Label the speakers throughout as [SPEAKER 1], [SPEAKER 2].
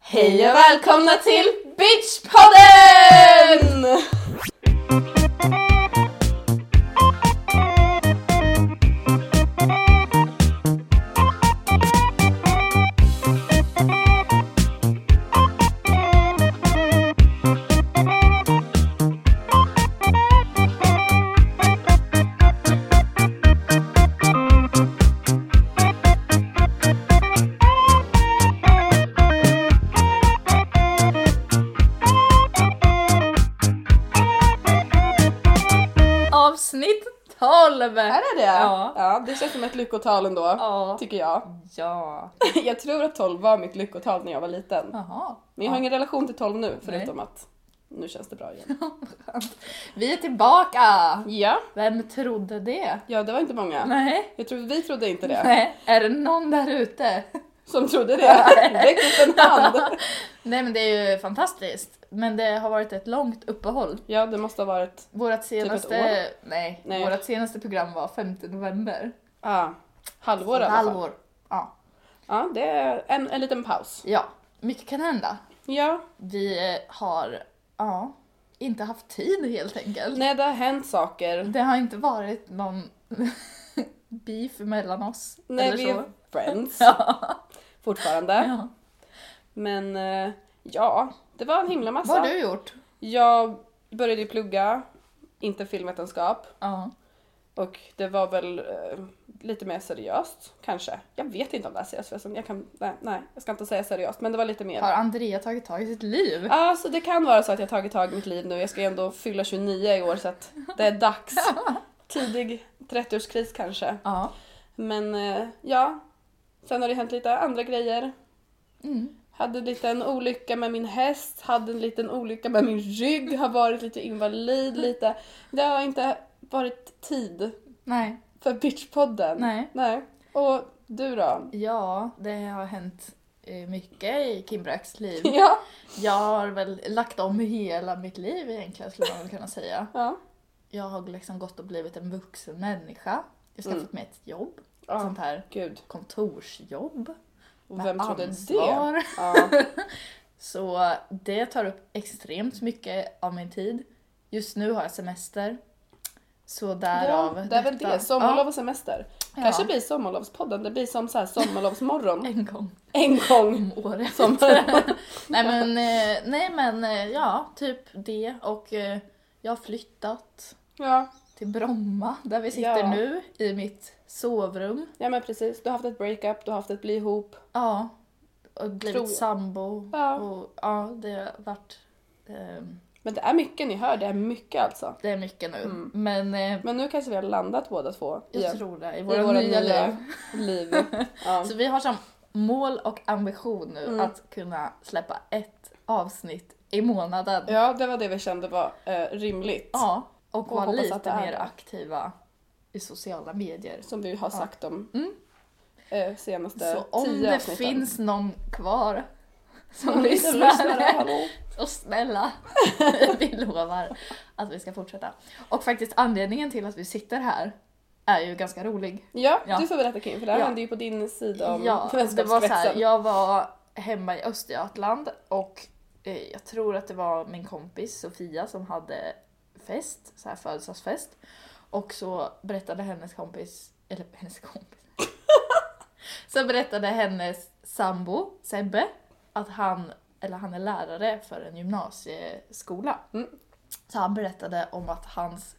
[SPEAKER 1] Hej och välkomna till Bitchpodden! Avsnitt 12!
[SPEAKER 2] Är det det?
[SPEAKER 1] Ja.
[SPEAKER 2] ja det känns som ett lyckotal ändå,
[SPEAKER 1] Ja.
[SPEAKER 2] tycker jag.
[SPEAKER 1] Ja.
[SPEAKER 2] Jag tror att 12 var mitt lyckotal när jag var liten.
[SPEAKER 1] Jaha.
[SPEAKER 2] Men jag har ingen relation till 12 nu, förutom att nu känns det bra igen.
[SPEAKER 1] Vi är tillbaka!
[SPEAKER 2] Ja,
[SPEAKER 1] Vem trodde det?
[SPEAKER 2] ja det var inte många.
[SPEAKER 1] Nej.
[SPEAKER 2] Jag tror, vi trodde inte det,
[SPEAKER 1] Nej. Är det någon där ute?
[SPEAKER 2] som trodde det. Räck upp en hand!
[SPEAKER 1] Nej men det är ju fantastiskt. Men det har varit ett långt uppehåll.
[SPEAKER 2] Ja, det måste ha varit...
[SPEAKER 1] Vårat senaste... nej.
[SPEAKER 2] Nej.
[SPEAKER 1] Vårat senaste program var 5 november.
[SPEAKER 2] Ah, halvår
[SPEAKER 1] Ett
[SPEAKER 2] i alla fall.
[SPEAKER 1] halvår. Ja.
[SPEAKER 2] Ja, det är en, en liten paus.
[SPEAKER 1] ja. Mycket kan hända.
[SPEAKER 2] Ja,
[SPEAKER 1] Vi har, ja, inte haft tid helt enkelt.
[SPEAKER 2] nej det har hänt saker.
[SPEAKER 1] Det har inte varit någon beef mellan oss.
[SPEAKER 2] Nej,
[SPEAKER 1] eller
[SPEAKER 2] vi
[SPEAKER 1] så.
[SPEAKER 2] är friends
[SPEAKER 1] Ja.
[SPEAKER 2] fortfarande.
[SPEAKER 1] Ja.
[SPEAKER 2] Men eh, ja, det var en himla massa.
[SPEAKER 1] Vad har du gjort?
[SPEAKER 2] Jag började ju plugga, inte filmvetenskap.
[SPEAKER 1] Ja.
[SPEAKER 2] Och det var väl eh, lite mer seriöst kanske. Jag vet inte om det är seriöst förresten. Jag kan, nej, nej, jag ska inte säga seriöst men det var lite mer.
[SPEAKER 1] Har Andrea tagit tag i sitt liv?
[SPEAKER 2] Ja, så det kan vara så att jag tagit tag i mitt liv nu. Jag ska ju ändå fylla 29 i år så att det är dags. Tidig 30-årskris kanske.
[SPEAKER 1] Ja.
[SPEAKER 2] Men eh, ja, sen har det hänt lite andra grejer.
[SPEAKER 1] Mm.
[SPEAKER 2] Hade en liten olycka med min häst, hade en liten olycka med min rygg, har varit lite invalid
[SPEAKER 1] Mm.
[SPEAKER 2] lite. Det har inte varit tid
[SPEAKER 1] Nej.
[SPEAKER 2] för bitchpodden.
[SPEAKER 1] Nej.
[SPEAKER 2] Nej. Och du då?
[SPEAKER 1] Ja, det har hänt eh, mycket i Kimbracks liv.
[SPEAKER 2] Ja.
[SPEAKER 1] Jag har väl lagt om hela mitt liv egentligen skulle man väl kunna säga.
[SPEAKER 2] Ja.
[SPEAKER 1] Jag har liksom gått och blivit en vuxen människa. Jag har skaffat mig ett jobb.
[SPEAKER 2] Mm. Ja.
[SPEAKER 1] Sånt här
[SPEAKER 2] Gud.
[SPEAKER 1] kontorsjobb.
[SPEAKER 2] Och
[SPEAKER 1] med
[SPEAKER 2] vem trodde det?
[SPEAKER 1] ansvar.
[SPEAKER 2] Ja.
[SPEAKER 1] Så det tar upp extremt mycket av min tid. Just nu har jag semester. Så
[SPEAKER 2] ja,
[SPEAKER 1] därav
[SPEAKER 2] det är väl
[SPEAKER 1] detta.
[SPEAKER 2] det. Sommarlov och semester.
[SPEAKER 1] Ja.
[SPEAKER 2] Kanske blir sommarlovspodden. Det blir som så här sommarlovsmorgon.
[SPEAKER 1] En gång
[SPEAKER 2] en gång.
[SPEAKER 1] om året.
[SPEAKER 2] Sommar.
[SPEAKER 1] nej, men, eh, nej men eh, ja, typ det. Och eh, jag har flyttat
[SPEAKER 2] Ja.
[SPEAKER 1] till Bromma där vi sitter
[SPEAKER 2] Ja.
[SPEAKER 1] nu i mitt sovrum.
[SPEAKER 2] ja, men precis. Du har haft ett breakup, du har haft ett bli ihop.
[SPEAKER 1] Ja. Och blivit
[SPEAKER 2] Tror-
[SPEAKER 1] sambo.
[SPEAKER 2] Ja.
[SPEAKER 1] Och, ja, det har varit... ehm,
[SPEAKER 2] Men det är mycket ni hör, det är mycket alltså.
[SPEAKER 1] det är mycket nu.
[SPEAKER 2] Mm.
[SPEAKER 1] Men eh,
[SPEAKER 2] Men nu kanske vi har landat båda två.
[SPEAKER 1] jag
[SPEAKER 2] i-
[SPEAKER 1] tror det. I
[SPEAKER 2] I
[SPEAKER 1] våra,
[SPEAKER 2] våra
[SPEAKER 1] nya liv.
[SPEAKER 2] liv. Ja.
[SPEAKER 1] Så vi har som mål och ambition nu
[SPEAKER 2] Mm.
[SPEAKER 1] att kunna släppa ett avsnitt i månaden.
[SPEAKER 2] ja, det var det vi kände var eh, rimligt.
[SPEAKER 1] Ja, och
[SPEAKER 2] Och
[SPEAKER 1] vara
[SPEAKER 2] hoppas att
[SPEAKER 1] lite
[SPEAKER 2] det är
[SPEAKER 1] mer
[SPEAKER 2] det.
[SPEAKER 1] aktiva i sociala medier.
[SPEAKER 2] Som vi har sagt om
[SPEAKER 1] Mm.
[SPEAKER 2] eh, senaste
[SPEAKER 1] Så om
[SPEAKER 2] tio
[SPEAKER 1] det
[SPEAKER 2] avsnitten.
[SPEAKER 1] finns någon kvar som
[SPEAKER 2] Om det finns
[SPEAKER 1] lyssnar,
[SPEAKER 2] hallå.
[SPEAKER 1] så snälla, vi lovar att vi ska fortsätta. Och faktiskt anledningen till att vi sitter här är ju ganska rolig.
[SPEAKER 2] Ja,
[SPEAKER 1] Ja.
[SPEAKER 2] du får berätta Kim, för det här
[SPEAKER 1] Ja.
[SPEAKER 2] hände ju på din sida om
[SPEAKER 1] Ja, det var så här,
[SPEAKER 2] vänskapskretsen.
[SPEAKER 1] jag var hemma i Östergötland och eh, jag tror att det var min kompis Sofia som hade fest, så här födelsedagsfest. Och så berättade hennes kompis, eller hennes kompis. så berättade hennes sambo Sebbe att han, eller han är lärare för en gymnasieskola.
[SPEAKER 2] Mm.
[SPEAKER 1] Så han berättade om att hans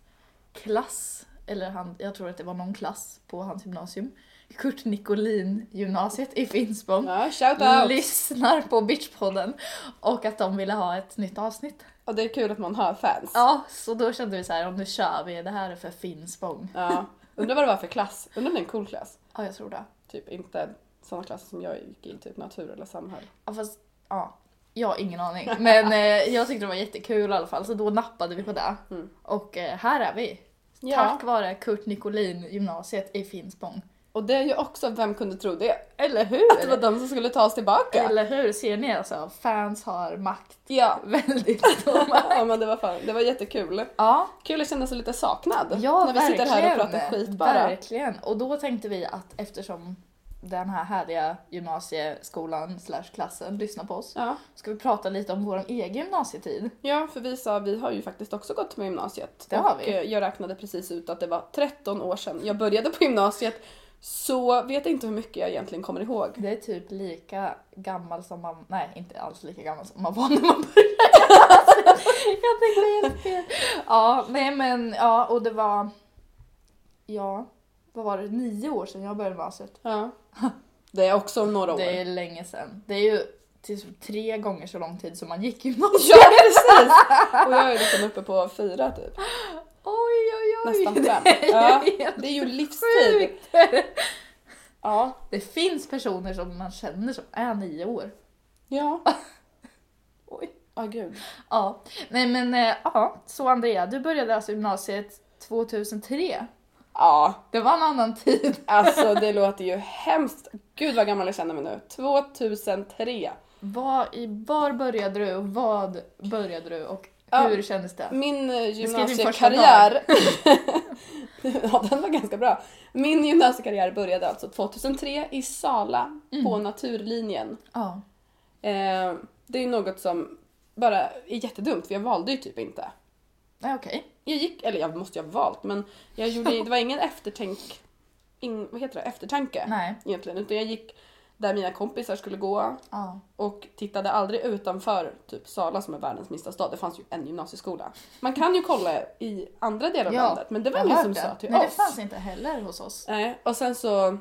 [SPEAKER 1] klass, eller han, jag tror att det var någon klass på hans gymnasium, Kurt Nicolin gymnasiet i Finspång,
[SPEAKER 2] Ja, shout out!
[SPEAKER 1] lyssnar på Bitchpodden och att de ville ha ett nytt avsnitt.
[SPEAKER 2] Och det är kul att man har fans.
[SPEAKER 1] Ja, så då kände vi så här, om nu kör vi, det här är för Finspång.
[SPEAKER 2] Ja. Undrar vad det var för klass. Undrar om det är en cool klass.
[SPEAKER 1] Ja, jag tror det.
[SPEAKER 2] Typ inte sådana klasser som jag gick i, typ natur eller samhälle.
[SPEAKER 1] Ja, fast, ja. Jag har ingen aning. Men eh, jag tyckte det var jättekul i alla fall, så då nappade vi på det.
[SPEAKER 2] Mm.
[SPEAKER 1] Och eh, här är vi.
[SPEAKER 2] Ja.
[SPEAKER 1] Tack vare Kurt Nicolin gymnasiet i Finspång.
[SPEAKER 2] Och det är ju också, vem kunde tro det?
[SPEAKER 1] Eller hur?
[SPEAKER 2] Att det var de som skulle ta oss tillbaka.
[SPEAKER 1] Eller hur? Ser ni alltså? Fans har makt.
[SPEAKER 2] Ja.
[SPEAKER 1] Väldigt stor makt.
[SPEAKER 2] ja men det var fan, det var jättekul.
[SPEAKER 1] Ja,
[SPEAKER 2] Kul att känna sig lite saknad.
[SPEAKER 1] ja
[SPEAKER 2] när vi
[SPEAKER 1] verkligen.
[SPEAKER 2] sitter här och pratar skit bara.
[SPEAKER 1] Verkligen. Och då tänkte vi att eftersom den här härliga gymnasieskolan slash klassen lyssnar på oss.
[SPEAKER 2] Ja.
[SPEAKER 1] Ska vi prata lite om vår egen gymnasietid?
[SPEAKER 2] ja, för vi sa vi har ju faktiskt också gått med gymnasiet.
[SPEAKER 1] Det har
[SPEAKER 2] och
[SPEAKER 1] vi.
[SPEAKER 2] eh, jag räknade precis ut att det var 13 år sedan jag började på gymnasiet. Så vet inte hur mycket jag egentligen kommer ihåg.
[SPEAKER 1] Det är typ lika gammal som man, nej inte alls lika gammal som man var när man började. jag tänkte helt fel. Ja, nej men ja och det var, ja, vad var det, nio år sedan jag började gymnasiet.
[SPEAKER 2] Ja. Det är också om några år.
[SPEAKER 1] Det är länge sedan. Det är ju typ tre gånger så lång tid som man gick gymnasiet.
[SPEAKER 2] Ja precis! Och jag är liksom uppe på fyra typ.
[SPEAKER 1] Oj oj oj!
[SPEAKER 2] Nästan fem.
[SPEAKER 1] Det är
[SPEAKER 2] Ja,
[SPEAKER 1] helt
[SPEAKER 2] det är ju livstid.
[SPEAKER 1] sjukt.
[SPEAKER 2] Ja.
[SPEAKER 1] Det finns personer som man känner som är nio år.
[SPEAKER 2] Ja.
[SPEAKER 1] Oj.
[SPEAKER 2] Ja gud.
[SPEAKER 1] Ja, nej men eh, ja, så Andrea, du började alltså gymnasiet 2003.
[SPEAKER 2] Ja,
[SPEAKER 1] Det var en annan tid.
[SPEAKER 2] alltså det låter ju hemskt. Gud vad gammal jag känner mig nu. 2003.
[SPEAKER 1] Var, i, var började du och vad började du och
[SPEAKER 2] Ja.
[SPEAKER 1] hur kändes det?
[SPEAKER 2] Min eh,
[SPEAKER 1] din första
[SPEAKER 2] gymnasiekarriär... ja, den var ganska bra. Min gymnasiekarriär började alltså 2003 i Sala på
[SPEAKER 1] Mm.
[SPEAKER 2] naturlinjen.
[SPEAKER 1] Ja,
[SPEAKER 2] Eh, det är något som bara är jättedumt för jag valde ju typ inte.
[SPEAKER 1] nej okej.
[SPEAKER 2] Jag gick, eller jag måste ju ha valt, men jag gjorde, det var ingen eftertänk, ing, vad heter det, eftertanke
[SPEAKER 1] Nej.
[SPEAKER 2] egentligen. Utan jag gick där mina kompisar skulle gå
[SPEAKER 1] Ja.
[SPEAKER 2] och tittade aldrig utanför typ Sala som är världens minsta stad. Det fanns ju en gymnasieskola. Man kan ju kolla i andra delar av
[SPEAKER 1] Ja,
[SPEAKER 2] landet men det var
[SPEAKER 1] jag
[SPEAKER 2] ingen
[SPEAKER 1] har
[SPEAKER 2] som
[SPEAKER 1] hört det.
[SPEAKER 2] sa till
[SPEAKER 1] Nej,
[SPEAKER 2] oss.
[SPEAKER 1] det fanns inte heller hos oss.
[SPEAKER 2] Nej, och sen så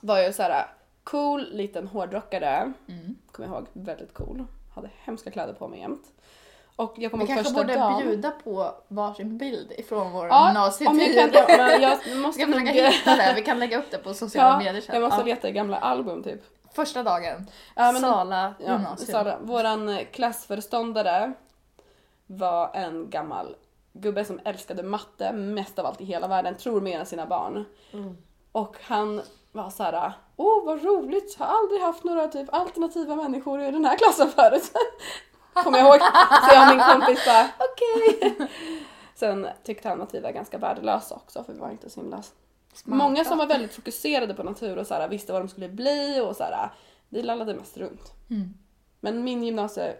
[SPEAKER 2] var jag så här cool liten hårdrockare.
[SPEAKER 1] Mm.
[SPEAKER 2] Kommer jag ihåg, väldigt cool. Hade hemska kläder på mig jämt. Och jag kommer
[SPEAKER 1] Vi
[SPEAKER 2] ihåg
[SPEAKER 1] kanske
[SPEAKER 2] första
[SPEAKER 1] borde
[SPEAKER 2] dagen.
[SPEAKER 1] bjuda på varsin bild ifrån vår
[SPEAKER 2] Ja, om jag
[SPEAKER 1] gymnasietid.
[SPEAKER 2] kan, ja, men jag
[SPEAKER 1] Vi
[SPEAKER 2] måste
[SPEAKER 1] ska försöka
[SPEAKER 2] nog...
[SPEAKER 1] hitta det, vi kan lägga upp det på sociala
[SPEAKER 2] Ja,
[SPEAKER 1] medier sen.
[SPEAKER 2] jag måste
[SPEAKER 1] Ja.
[SPEAKER 2] leta i gamla album typ.
[SPEAKER 1] Första dagen,
[SPEAKER 2] Ja, men-
[SPEAKER 1] Sala
[SPEAKER 2] Ja,
[SPEAKER 1] gymnasium.
[SPEAKER 2] Sara, våran eh, klassföreståndare var en gammal gubbe som älskade matte mest av allt i hela världen, tror mer än sina barn.
[SPEAKER 1] Mm.
[SPEAKER 2] Och han var så här: åh vad roligt, jag har aldrig haft några typ alternativa människor i den här klassen förut. Kommer jag ihåg. Så jag och min kompis bara, okej. Sen tyckte han att vi var ganska värdelösa också för vi var inte så himla
[SPEAKER 1] Smarta.
[SPEAKER 2] Många som var väldigt fokuserade på natur och så här, visste vad de skulle bli och så här, vi lallade mest runt.
[SPEAKER 1] Mm.
[SPEAKER 2] Men min gymnasie,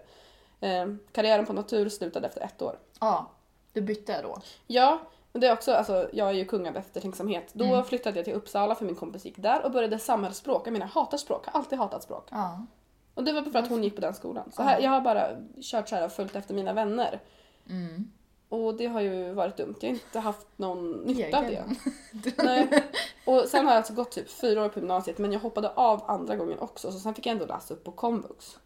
[SPEAKER 2] eh, karriären på natur slutade efter ett år.
[SPEAKER 1] Ja, du bytte då.
[SPEAKER 2] Ja, men det är också, alltså, jag är ju kung av eftertänksamhet. Då
[SPEAKER 1] Mm.
[SPEAKER 2] flyttade jag till Uppsala för min kompis gick där och började samhällsspråk. Jag menar, jag hatar språk, har alltid hatat språk.
[SPEAKER 1] Ja.
[SPEAKER 2] Och det var för att hon gick på den skolan. Så här, jag har bara kört så här och följt efter mina vänner.
[SPEAKER 1] Mm.
[SPEAKER 2] Och det har ju varit dumt, jag har inte haft någon nytta av det.
[SPEAKER 1] Egen.
[SPEAKER 2] Nej. Och sen har jag alltså gått typ fyra år på gymnasiet men jag hoppade av andra gången också så sen fick jag ändå läsa upp på komvux.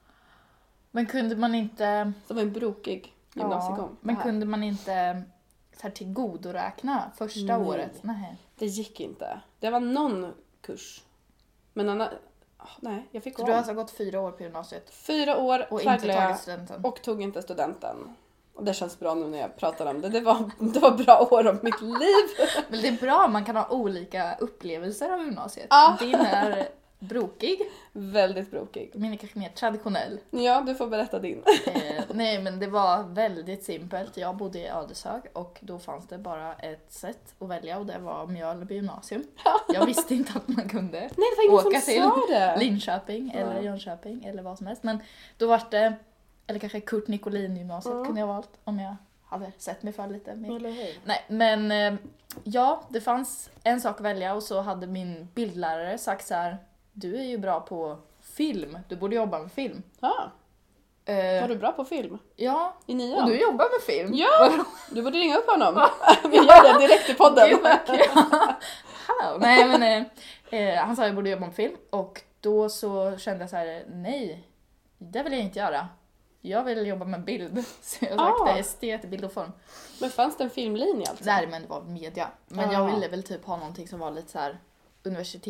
[SPEAKER 1] Men kunde man inte...
[SPEAKER 2] Så det var en brokig
[SPEAKER 1] ja,
[SPEAKER 2] gymnasiegång. Det
[SPEAKER 1] men
[SPEAKER 2] här.
[SPEAKER 1] kunde man inte så här, tillgodoräkna första
[SPEAKER 2] Nej.
[SPEAKER 1] året? Nej.
[SPEAKER 2] Det gick inte. Det var någon kurs. Men annan... ah, nej, jag fick
[SPEAKER 1] Så
[SPEAKER 2] gå
[SPEAKER 1] du har
[SPEAKER 2] om.
[SPEAKER 1] alltså gått fyra år på gymnasiet
[SPEAKER 2] Fyra år
[SPEAKER 1] och inte
[SPEAKER 2] tragglade jag
[SPEAKER 1] tagit studenten?
[SPEAKER 2] och tog inte studenten. Och det känns bra nu när jag pratar om det. Det var, det var bra år av mitt liv.
[SPEAKER 1] Men det är bra, man kan ha olika upplevelser av gymnasiet.
[SPEAKER 2] Ja.
[SPEAKER 1] Din är brokig,
[SPEAKER 2] Väldigt brokig.
[SPEAKER 1] min är kanske mer traditionell.
[SPEAKER 2] Ja, du får berätta din.
[SPEAKER 1] Eh, nej men det var väldigt simpelt. Jag bodde i Ödeshög och då fanns det bara ett sätt att välja och det var Mjölby gymnasium. Jag visste inte att man kunde
[SPEAKER 2] Nej, det var ingen
[SPEAKER 1] Åka
[SPEAKER 2] som
[SPEAKER 1] till
[SPEAKER 2] sa det.
[SPEAKER 1] Linköping eller
[SPEAKER 2] Ja.
[SPEAKER 1] Jönköping eller vad som helst. Men då var det, eller kanske Kurt Nicolin gymnasiet
[SPEAKER 2] Mm.
[SPEAKER 1] kunde jag valt om jag hade sett mig för lite mer.
[SPEAKER 2] Eller hur?
[SPEAKER 1] Nej men eh, ja, det fanns en sak att välja och så hade min bildlärare sagt så här. Du är ju bra på film, du borde jobba med film.
[SPEAKER 2] Ja,
[SPEAKER 1] Eh,
[SPEAKER 2] var du bra på film?
[SPEAKER 1] Ja,
[SPEAKER 2] I nian?
[SPEAKER 1] och du jobbar med film?
[SPEAKER 2] Ja! Du borde ringa upp honom. Vi gör det direkt i podden.
[SPEAKER 1] Gud, vad kul. How? Nej men eh, eh, han sa jag borde jobba med film och då så kände jag så här: nej, det vill jag inte göra. Jag vill jobba med bild. Så jag
[SPEAKER 2] Ah.
[SPEAKER 1] sökte estet, bild och form.
[SPEAKER 2] Men fanns det en filmlinje alltså?
[SPEAKER 1] Nej men det var media. Men jag
[SPEAKER 2] Ah.
[SPEAKER 1] ville väl typ ha någonting som var lite så här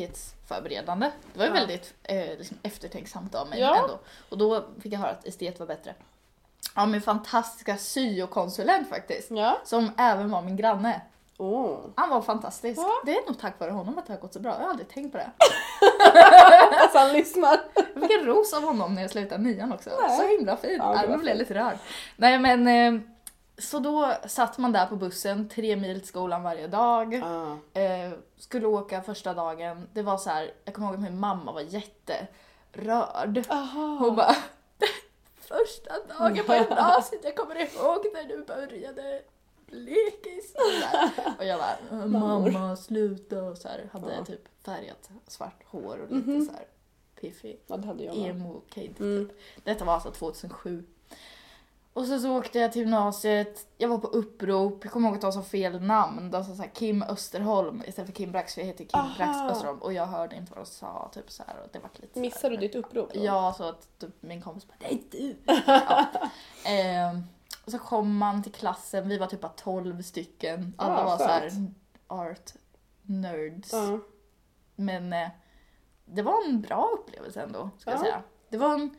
[SPEAKER 1] universitetsförberedande. Det var ju
[SPEAKER 2] Ja.
[SPEAKER 1] väldigt eh, liksom eftertänksamt av mig
[SPEAKER 2] Ah. Ja.
[SPEAKER 1] ändå. Och då fick jag höra att estet var bättre. Ja min fantastiska syokonsulent faktiskt.
[SPEAKER 2] Ja.
[SPEAKER 1] Som även var min granne.
[SPEAKER 2] Oh.
[SPEAKER 1] Han var fantastisk.
[SPEAKER 2] Ja.
[SPEAKER 1] Det är nog tack vare honom att det har gått så bra. Jag har aldrig tänkt på det.
[SPEAKER 2] Alltså han lyssnar.
[SPEAKER 1] Jag fick en ros av honom när jag slutade nian också.
[SPEAKER 2] Nej.
[SPEAKER 1] Så himla fint.
[SPEAKER 2] Ja, det
[SPEAKER 1] Ja,
[SPEAKER 2] var
[SPEAKER 1] blev jag lite rörd. Nej men eh, Så då satt man där på bussen tre mil till skolan varje dag.
[SPEAKER 2] Ah.
[SPEAKER 1] Eh, skulle åka första dagen. Det var så här, jag kommer ihåg att min mamma var jätterörd.
[SPEAKER 2] Aha.
[SPEAKER 1] Hon bara Första dagen på gymnasiet, jag kommer ihåg när du började leka i skolan. Och jag bara "Eh, Mamma sluta och så här, hade
[SPEAKER 2] Ja. Mhm.
[SPEAKER 1] typ färgat svart hår och lite så här piffig
[SPEAKER 2] Ja, det hade jag med.
[SPEAKER 1] emo-kid.
[SPEAKER 2] Mm.
[SPEAKER 1] Detta var alltså 2007. Och sen så åkte jag till gymnasiet, jag var på upprop, jag kommer ihåg att de sa fel namn. De sa så här Kim Österholm istället för Kim Brax för jag heter Kim
[SPEAKER 2] Aha.
[SPEAKER 1] Brax Österholm och jag hörde inte vad de sa. Typ så här, och det var lite så här-
[SPEAKER 2] Missade du ditt upprop? då?
[SPEAKER 1] Ja, så att typ, min kompis bara det är du. ja. Ehm, och så kom man till klassen, vi var typ bara 12 stycken. Alla
[SPEAKER 2] Ja,
[SPEAKER 1] var så här
[SPEAKER 2] Ah, skönt.
[SPEAKER 1] art nerds.
[SPEAKER 2] Ja.
[SPEAKER 1] Men eh, det var en bra upplevelse ändå, ska jag
[SPEAKER 2] Ja.
[SPEAKER 1] säga. Det var en,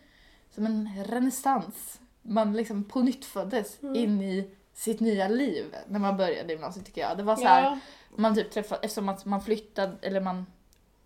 [SPEAKER 1] som en renässans. Man liksom på nytt föddes
[SPEAKER 2] Mm.
[SPEAKER 1] in i sitt nya liv när man började gymnasiet tycker jag. Det var så här,
[SPEAKER 2] Ja.
[SPEAKER 1] man typ träffade, eftersom att man flyttade, eller man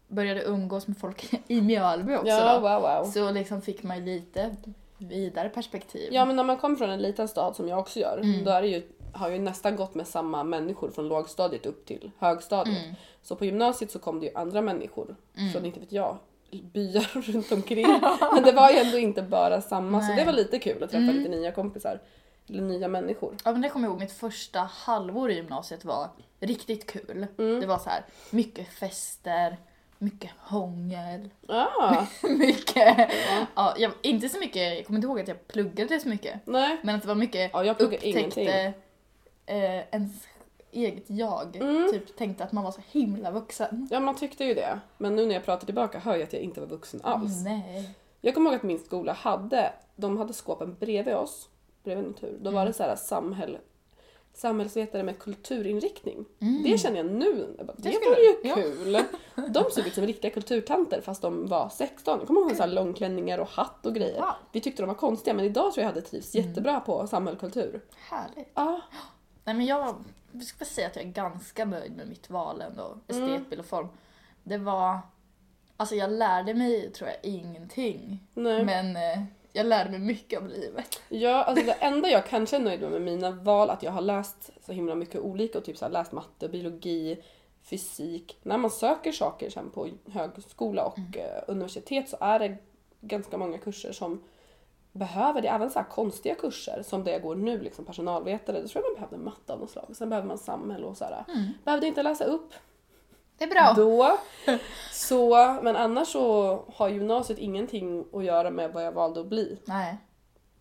[SPEAKER 1] började umgås med folk i Mjölby också
[SPEAKER 2] ja,
[SPEAKER 1] då.
[SPEAKER 2] wow, wow.
[SPEAKER 1] Så liksom fick man ju lite vidare perspektiv.
[SPEAKER 2] Ja men när man kommer från en liten stad som jag också gör,
[SPEAKER 1] Mm.
[SPEAKER 2] då är det ju, har jag ju nästan gått med samma människor från lågstadiet upp till högstadiet.
[SPEAKER 1] Mm.
[SPEAKER 2] Så på gymnasiet så kom det ju andra människor
[SPEAKER 1] Mm.
[SPEAKER 2] från, inte vet jag, byar runt omkring. men det var ju ändå inte bara samma så
[SPEAKER 1] Nej.
[SPEAKER 2] det var lite kul att träffa
[SPEAKER 1] Mm.
[SPEAKER 2] lite nya kompisar. Eller nya människor.
[SPEAKER 1] Ja men det kommer jag ihåg, mitt första halvår i gymnasiet var riktigt kul.
[SPEAKER 2] Mm.
[SPEAKER 1] Det var så här, mycket fester, mycket hångel,
[SPEAKER 2] Ah,
[SPEAKER 1] mycket... Ja, jag, inte så mycket, jag kommer inte ihåg att jag pluggade så mycket.
[SPEAKER 2] nej.
[SPEAKER 1] Men att det var mycket
[SPEAKER 2] Ja, jag pluggar ingenting.
[SPEAKER 1] upptäckte eh, ens eget jag.
[SPEAKER 2] Mm.
[SPEAKER 1] Typ tänkte att man var så himla vuxen.
[SPEAKER 2] Ja man tyckte ju det. Men nu när jag pratar tillbaka hör jag att jag inte var vuxen alls.
[SPEAKER 1] Nej.
[SPEAKER 2] Jag kommer ihåg att min skola hade, de hade skåpen bredvid oss, bredvid natur. Då var det så här samhäll, samhällsvetare med kulturinriktning. Det känner jag nu, jag bara, det,
[SPEAKER 1] Det skulle
[SPEAKER 2] vore ju
[SPEAKER 1] du- ja.
[SPEAKER 2] kul. De såg ut som riktiga kulturtanter fast de var 16. Jag kommer ihåg så här långklänningar och hatt och grejer.
[SPEAKER 1] Wow.
[SPEAKER 2] Vi tyckte de var konstiga men idag tror jag jag hade trivs jättebra på samhällskultur.
[SPEAKER 1] Härligt.
[SPEAKER 2] Ja,
[SPEAKER 1] Nej men jag, jag skulle säga att jag är ganska nöjd med mitt val ändå.
[SPEAKER 2] Mm.
[SPEAKER 1] Estetbild och form. Det var, alltså jag lärde mig tror jag ingenting.
[SPEAKER 2] nej.
[SPEAKER 1] Men eh, jag lärde mig mycket av livet.
[SPEAKER 2] Ja, alltså det enda jag kanske är nöjd med med mina val att jag har läst så himla mycket olika och typ så här, läst matte, biologi, fysik. När man söker saker sen på högskola och eh, universitet så är det ganska många kurser som behöver det. Även så här konstiga kurser som det jag går nu, liksom personalvetare. Då tror jag man behövde matte av något slag. Sen behöver man samhälle och så här. Behövde inte läsa upp
[SPEAKER 1] Det är bra.
[SPEAKER 2] då. Så, men annars så har gymnasiet ingenting att göra med vad jag valde att bli.
[SPEAKER 1] Nej.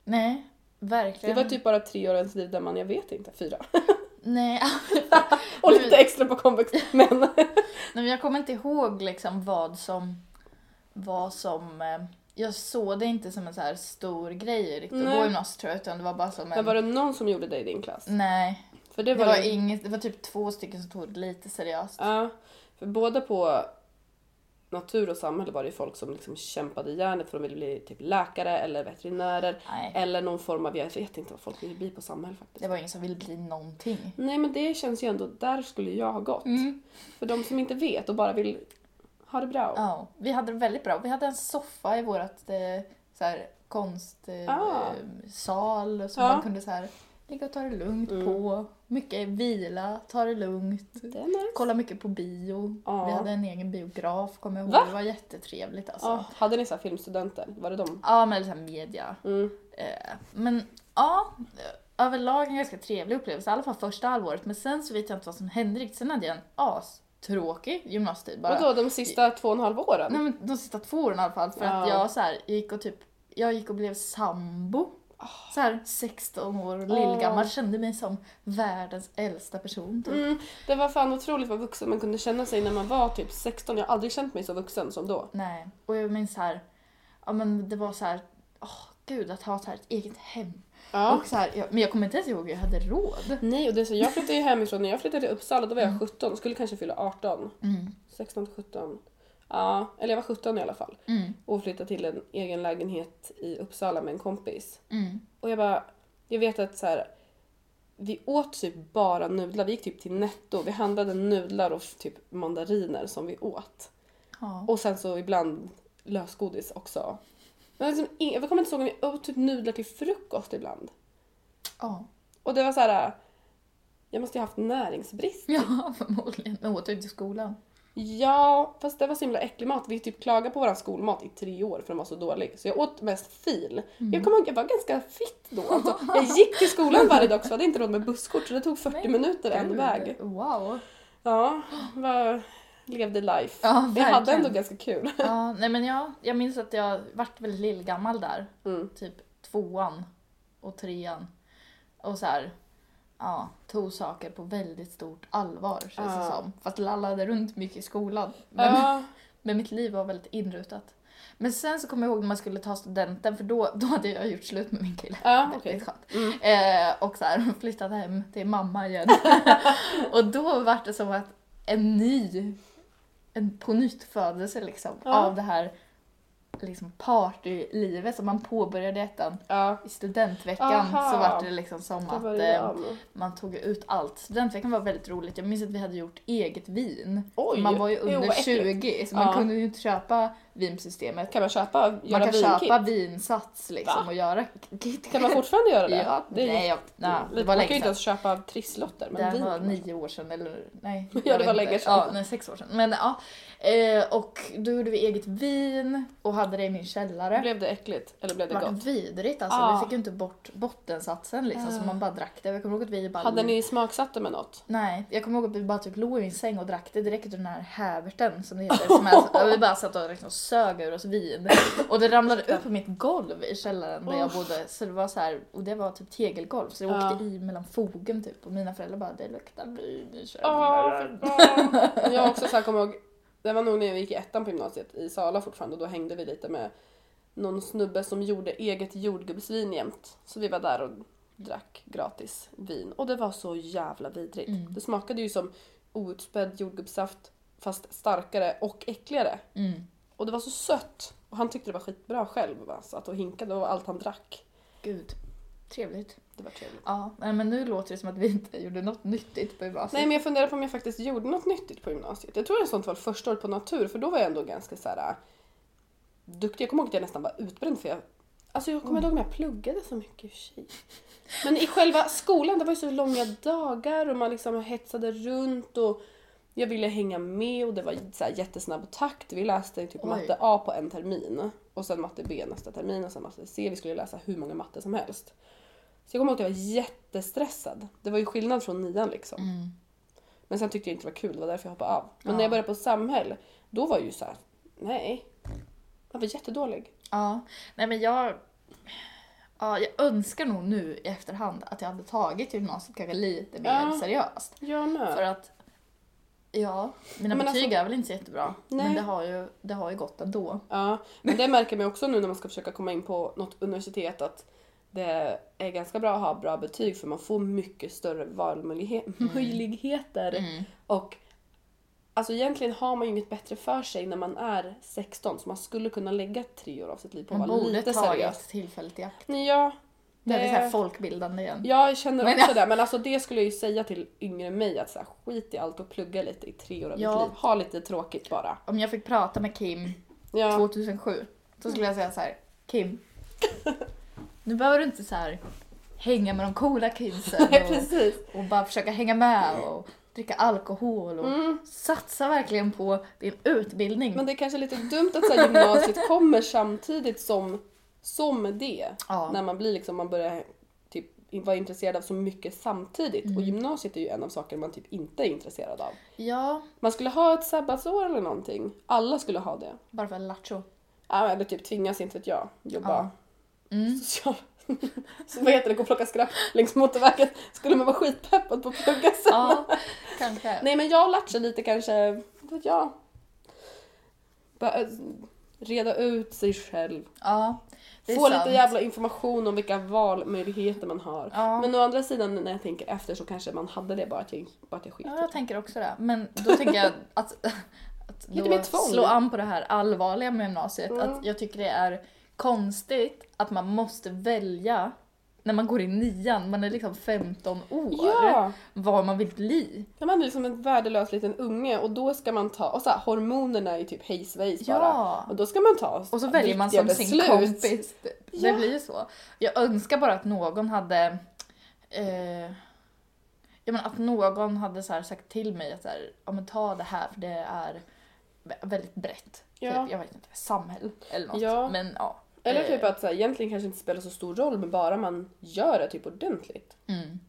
[SPEAKER 1] Nej,
[SPEAKER 2] Det
[SPEAKER 1] verkligen.
[SPEAKER 2] var typ bara tre år i ens liv där man, jag vet inte, fyra.
[SPEAKER 1] Nej.
[SPEAKER 2] Och lite extra på komvux. Men
[SPEAKER 1] Nej, men jag kommer inte ihåg liksom vad som... Vad som eh, jag såg det inte som en så här stor grej riktigt att
[SPEAKER 2] Nej.
[SPEAKER 1] gå i gymnasiet tror jag, utan det var bara som
[SPEAKER 2] men
[SPEAKER 1] en...
[SPEAKER 2] var det någon som gjorde det i din klass?
[SPEAKER 1] Nej,
[SPEAKER 2] För det
[SPEAKER 1] Mm. det
[SPEAKER 2] var,
[SPEAKER 1] var,
[SPEAKER 2] ju...
[SPEAKER 1] inget, det var typ två stycken som tog det lite seriöst.
[SPEAKER 2] Ja, för båda på natur och samhälle var det ju folk som liksom kämpade i järnet för de ville bli typ läkare eller veterinärer.
[SPEAKER 1] Nej,
[SPEAKER 2] Eller någon form av, jag vet inte vad folk ville bli på samhälle faktiskt.
[SPEAKER 1] det var ingen som ville bli någonting.
[SPEAKER 2] Nej men det känns ju ändå, där skulle jag ha gått.
[SPEAKER 1] Mm.
[SPEAKER 2] För de som inte vet och bara vill ha det bra.
[SPEAKER 1] Ja, vi hade det väldigt bra. Vi hade en soffa i vårt eh, så här, konstsal
[SPEAKER 2] Ah.
[SPEAKER 1] eh, sal som
[SPEAKER 2] Ja.
[SPEAKER 1] man kunde så här, ligga och ta det lugnt
[SPEAKER 2] Mm.
[SPEAKER 1] på. Mycket vila, ta det lugnt.
[SPEAKER 2] Det är nice.
[SPEAKER 1] Kolla mycket på bio.
[SPEAKER 2] Ja.
[SPEAKER 1] Vi hade en egen biograf, kommer jag ihåg.
[SPEAKER 2] Va?
[SPEAKER 1] Det var jättetrevligt alltså.
[SPEAKER 2] Ja, hade ni så här filmstudenter? Var det de?
[SPEAKER 1] Ja, men så här media.
[SPEAKER 2] Mm.
[SPEAKER 1] Eh, Men ja, eh, överlag en ganska trevlig upplevelse. I alla fall första halvåret. Men sen så vet jag inte vad som hände riktigt. Sen hade jag en astråkig gymnasietid bara.
[SPEAKER 2] Vadå, de sista två och en halv åren?
[SPEAKER 1] Nej, men de sista två åren i alla fall. För att
[SPEAKER 2] Ja.
[SPEAKER 1] jag så här, gick och typ, jag gick och blev sambo.
[SPEAKER 2] Ah.
[SPEAKER 1] Så här 16 år och
[SPEAKER 2] Åh.
[SPEAKER 1] lillgammal. Kände mig som världens äldsta person typ.
[SPEAKER 2] Ah. Mm, det var fan otroligt vad vuxen man kunde känna sig när man var typ 16. Jag har aldrig känt mig så vuxen som då.
[SPEAKER 1] Nej, och jag minns så här, ja men det var så här, åh gud att ha så här ett eget hem.
[SPEAKER 2] Ja.
[SPEAKER 1] Och så här, jag, men jag kommer inte ens ihåg hur jag hade råd.
[SPEAKER 2] Nej, och det är så, jag flyttade ju hemifrån. När jag flyttade till Uppsala då var jag 17, skulle kanske fylla 18.
[SPEAKER 1] Mm.
[SPEAKER 2] 16 till 17. Ja, eller jag var 17 i alla fall.
[SPEAKER 1] Mm.
[SPEAKER 2] Och flyttade till en egen lägenhet i Uppsala med en kompis.
[SPEAKER 1] Mm.
[SPEAKER 2] Och jag bara, jag vet att så här, vi åt typ bara nudlar. Vi gick typ till Netto. Vi handlade nudlar och typ mandariner som vi åt.
[SPEAKER 1] Ja.
[SPEAKER 2] Och sen så ibland lösgodis också. Men liksom, ing- jag kommer inte ihåg om vi åt typ nudlar till frukost ibland.
[SPEAKER 1] ja.
[SPEAKER 2] Och det var så här. Jag måste ju ha haft näringsbrist.
[SPEAKER 1] Ja, förmodligen. Men åt ut i skolan.
[SPEAKER 2] Ja, fast det var så himla äcklig mat. Vi typ klagade på vår skolmat i tre år för den var så dålig. Så jag åt mest fil.
[SPEAKER 1] Mm.
[SPEAKER 2] Jag kommer ihåg, jag var ganska fitt då. Alltså, jag gick till skolan varje dag också, jag hade inte råd med busskort så det tog 40
[SPEAKER 1] Men
[SPEAKER 2] minuter en
[SPEAKER 1] Gud,
[SPEAKER 2] väg.
[SPEAKER 1] Wow.
[SPEAKER 2] Ja, var, levde life.
[SPEAKER 1] Ja,
[SPEAKER 2] jag
[SPEAKER 1] verkligen.
[SPEAKER 2] hade ändå ganska kul.
[SPEAKER 1] Ja, nej men jag, jag minns att jag vart väldigt lillgammal där.
[SPEAKER 2] Mm.
[SPEAKER 1] Typ tvåan och trean. Och så här, ja, tog saker på väldigt stort allvar känns det
[SPEAKER 2] Ja.
[SPEAKER 1] som. Fast lallade runt mycket i skolan. Men,
[SPEAKER 2] Ja,
[SPEAKER 1] men mitt liv var väldigt inrutat. Men sen så kommer jag ihåg när man skulle ta studenten för då, då hade jag gjort slut med min kille.
[SPEAKER 2] ja
[SPEAKER 1] Väldigt
[SPEAKER 2] okej.
[SPEAKER 1] skönt.
[SPEAKER 2] Mm.
[SPEAKER 1] Eh, och så här, flyttat hem till mamma igen. och då var det som att en ny, en på nytt födelse liksom,
[SPEAKER 2] Ja.
[SPEAKER 1] av det här liksom partylivet som man påbörjade i ettan.
[SPEAKER 2] Ja.
[SPEAKER 1] I studentveckan
[SPEAKER 2] Aha.
[SPEAKER 1] så var det liksom som
[SPEAKER 2] Det var
[SPEAKER 1] att
[SPEAKER 2] det
[SPEAKER 1] eh,
[SPEAKER 2] jag med.
[SPEAKER 1] man tog ut allt. Studentveckan var väldigt roligt. Jag minns att vi hade gjort eget vin.
[SPEAKER 2] Oj!
[SPEAKER 1] man var ju
[SPEAKER 2] Jo,
[SPEAKER 1] under
[SPEAKER 2] vad äckligt.
[SPEAKER 1] 20 så
[SPEAKER 2] Ja.
[SPEAKER 1] man kunde ju inte köpa vinsystemet.
[SPEAKER 2] Kan man köpa,
[SPEAKER 1] Man
[SPEAKER 2] göra
[SPEAKER 1] kan
[SPEAKER 2] vinkit?
[SPEAKER 1] köpa vinsats liksom
[SPEAKER 2] Va?
[SPEAKER 1] och göra kit.
[SPEAKER 2] Kan man fortfarande göra det?
[SPEAKER 1] Ja,
[SPEAKER 2] det är ju
[SPEAKER 1] nej, jag, nej, det var
[SPEAKER 2] man kan ju
[SPEAKER 1] länge
[SPEAKER 2] inte
[SPEAKER 1] sedan.
[SPEAKER 2] ens köpa trisslotter, men
[SPEAKER 1] Det
[SPEAKER 2] vin
[SPEAKER 1] var
[SPEAKER 2] kan man.
[SPEAKER 1] nio år sedan eller nej.
[SPEAKER 2] Ja,
[SPEAKER 1] jag
[SPEAKER 2] det
[SPEAKER 1] vet
[SPEAKER 2] var
[SPEAKER 1] inte.
[SPEAKER 2] länge sedan.
[SPEAKER 1] Ja, nej, sex år sedan. Men ja. Eh, och då gjorde vi eget vin och hade det i min källare.
[SPEAKER 2] Blev det äckligt eller blev
[SPEAKER 1] Det
[SPEAKER 2] det
[SPEAKER 1] var
[SPEAKER 2] gott?
[SPEAKER 1] vidrigt alltså.
[SPEAKER 2] Ja.
[SPEAKER 1] Vi fick ju inte bort bottensatsen liksom så
[SPEAKER 2] Ah.
[SPEAKER 1] man bara drack det. Jag kommer ihåg att vi bara...
[SPEAKER 2] Hade ni smaksatt det med något?
[SPEAKER 1] Nej, jag kommer ihåg att vi bara typ låg i min säng och drack det direkt ur den här häverten som det heter. Som är, alltså, vi bara satt och liksom sög ur oss vin. Och det ramlade ut på mitt golv i källaren där jag
[SPEAKER 2] Uff.
[SPEAKER 1] bodde. Så det var så här, och det var typ tegelgolv så det
[SPEAKER 2] Ja.
[SPEAKER 1] åkte i mellan fogen typ. Och mina föräldrar bara, det luktar vin i
[SPEAKER 2] Ja,
[SPEAKER 1] källaren.
[SPEAKER 2] Jag har också så här kommer ihåg, det var nog när jag gick i ettan på gymnasiet i Sala fortfarande och då hängde vi lite med någon snubbe som gjorde eget jordgubbsvin jämt. Så vi var där och drack gratis vin och det var så jävla vidrigt.
[SPEAKER 1] Mm.
[SPEAKER 2] Det smakade ju som outspädd jordgubbssaft fast starkare och äckligare.
[SPEAKER 1] Mm.
[SPEAKER 2] Och det var så sött. Och han tyckte det var skitbra själv. Va? Så att och hinkade och allt han drack.
[SPEAKER 1] Gud, trevligt.
[SPEAKER 2] Det var trevligt.
[SPEAKER 1] Ja, nej, men nu låter det som att vi inte gjorde något nyttigt på gymnasiet.
[SPEAKER 2] Nej men jag funderar på om jag faktiskt gjorde något nyttigt på gymnasiet. Jag tror det sånt var första året på natur för då var jag ändå ganska så här äh, duktig. Jag kommer ihåg att jag nästan var utbränd för jag Alltså jag kommer ihåg när jag pluggade så mycket i och för sig. Men i själva skolan det var ju så långa dagar och man liksom hetsade runt och jag ville hänga med och det var så här jättesnabb takt. Vi läste typ
[SPEAKER 1] Oj.
[SPEAKER 2] matte A på en termin och sen matte B nästa termin och sen matte C. Vi skulle läsa hur många matte som helst. Så jag kommer ihåg att jag var jättestressad. Det var ju skillnad från nian liksom.
[SPEAKER 1] Mm.
[SPEAKER 2] Men sen tyckte jag inte det var kul, det var därför jag hoppade av. Men
[SPEAKER 1] Ja.
[SPEAKER 2] när jag började på samhäll, då var jag ju så här, nej. Jag var jättedålig.
[SPEAKER 1] Ja, nej men jag... Ja, jag önskar nog nu i efterhand att jag hade tagit gymnasiet kanske lite mer
[SPEAKER 2] Ja.
[SPEAKER 1] seriöst.
[SPEAKER 2] Jag med.
[SPEAKER 1] För att, ja, mina
[SPEAKER 2] Men
[SPEAKER 1] betyg
[SPEAKER 2] alltså-
[SPEAKER 1] är väl inte så jättebra.
[SPEAKER 2] Nej.
[SPEAKER 1] Men det har, ju, det har ju gått ändå.
[SPEAKER 2] Ja, men det märker man ju också nu när man ska försöka komma in på något universitet att det är ganska bra att ha bra betyg för man får mycket större valmöjligheter.
[SPEAKER 1] Mm.
[SPEAKER 2] Och alltså egentligen har man ju inget bättre för sig när man är 16 så man skulle kunna lägga tre år av sitt liv på
[SPEAKER 1] Man
[SPEAKER 2] att vara
[SPEAKER 1] borde
[SPEAKER 2] lite seriös.
[SPEAKER 1] tagit tillfället i akt.
[SPEAKER 2] Ja,
[SPEAKER 1] Det är
[SPEAKER 2] Det-
[SPEAKER 1] så här folkbildande igen.
[SPEAKER 2] Ja, jag känner
[SPEAKER 1] Men-
[SPEAKER 2] också det. Men alltså det skulle jag ju säga till yngre mig att så här, skit i allt och plugga lite i tre år av
[SPEAKER 1] Ja.
[SPEAKER 2] ditt liv. Ha lite tråkigt bara.
[SPEAKER 1] Om jag fick prata med Kim
[SPEAKER 2] Ja.
[SPEAKER 1] 2007 så skulle jag säga så här, Kim. Nu behöver du inte så här hänga med de coola kidsen
[SPEAKER 2] Nej,
[SPEAKER 1] och,
[SPEAKER 2] precis.
[SPEAKER 1] och bara försöka hänga med och dricka alkohol och
[SPEAKER 2] Mm.
[SPEAKER 1] satsa verkligen på din utbildning.
[SPEAKER 2] Men det är kanske lite dumt att så här, gymnasiet kommer samtidigt som, som det.
[SPEAKER 1] ja.
[SPEAKER 2] När man blir liksom, man börjar typ vara intresserad av så mycket samtidigt.
[SPEAKER 1] Mm.
[SPEAKER 2] Och gymnasiet är ju en av sakerna man typ inte är intresserad av.
[SPEAKER 1] ja,
[SPEAKER 2] Man skulle ha ett sabbatsår eller någonting. Alla skulle ha det.
[SPEAKER 1] bara för lattjo.
[SPEAKER 2] Ja, Eller typ tvingas, inte vet jag, jobba
[SPEAKER 1] Ja. Mm.
[SPEAKER 2] social... Så vad heter det, gå och plocka skräp längs motorvägen. Skulle man vara skitpeppad på att plugga sen?
[SPEAKER 1] Ja, kanske.
[SPEAKER 2] Nej men jag har lärt sig lite kanske, vad vet jag. Bör, reda ut sig själv.
[SPEAKER 1] Ja, det är
[SPEAKER 2] Få
[SPEAKER 1] sant.
[SPEAKER 2] lite jävla information om vilka valmöjligheter man har.
[SPEAKER 1] Ja.
[SPEAKER 2] Men å andra sidan när jag tänker efter så kanske man hade det bara att jag, bara att jag skiter
[SPEAKER 1] Ja, jag tänker också det. Men då tänker jag att, att
[SPEAKER 2] Lite mer
[SPEAKER 1] då
[SPEAKER 2] tvång.
[SPEAKER 1] slå an på det här allvarliga med gymnasiet.
[SPEAKER 2] Mm.
[SPEAKER 1] Att jag tycker det är konstigt att man måste välja när man går i nian, man är liksom 15 år,
[SPEAKER 2] Ja!
[SPEAKER 1] vad man vill bli.
[SPEAKER 2] Ja, Man är liksom en värdelös liten unge och då ska man ta, och så här, hormonerna är ju typ hej svejs bara.
[SPEAKER 1] Ja.
[SPEAKER 2] Och då ska man ta
[SPEAKER 1] Och så väljer man
[SPEAKER 2] viktiga
[SPEAKER 1] som sin
[SPEAKER 2] beslut.
[SPEAKER 1] kompis. Det
[SPEAKER 2] Ja.
[SPEAKER 1] blir ju så. Jag önskar bara att någon hade eh, ja, men att någon hade så här sagt till mig att så här, ja, men ta det här för det är vä- väldigt brett.
[SPEAKER 2] Ja.
[SPEAKER 1] Typ, jag vet inte, samhäll eller något.
[SPEAKER 2] Ja.
[SPEAKER 1] Men ja.
[SPEAKER 2] Eller
[SPEAKER 1] Eh,
[SPEAKER 2] typ att så här, egentligen kanske inte spelar så stor roll men bara man gör det typ ordentligt.
[SPEAKER 1] Mm.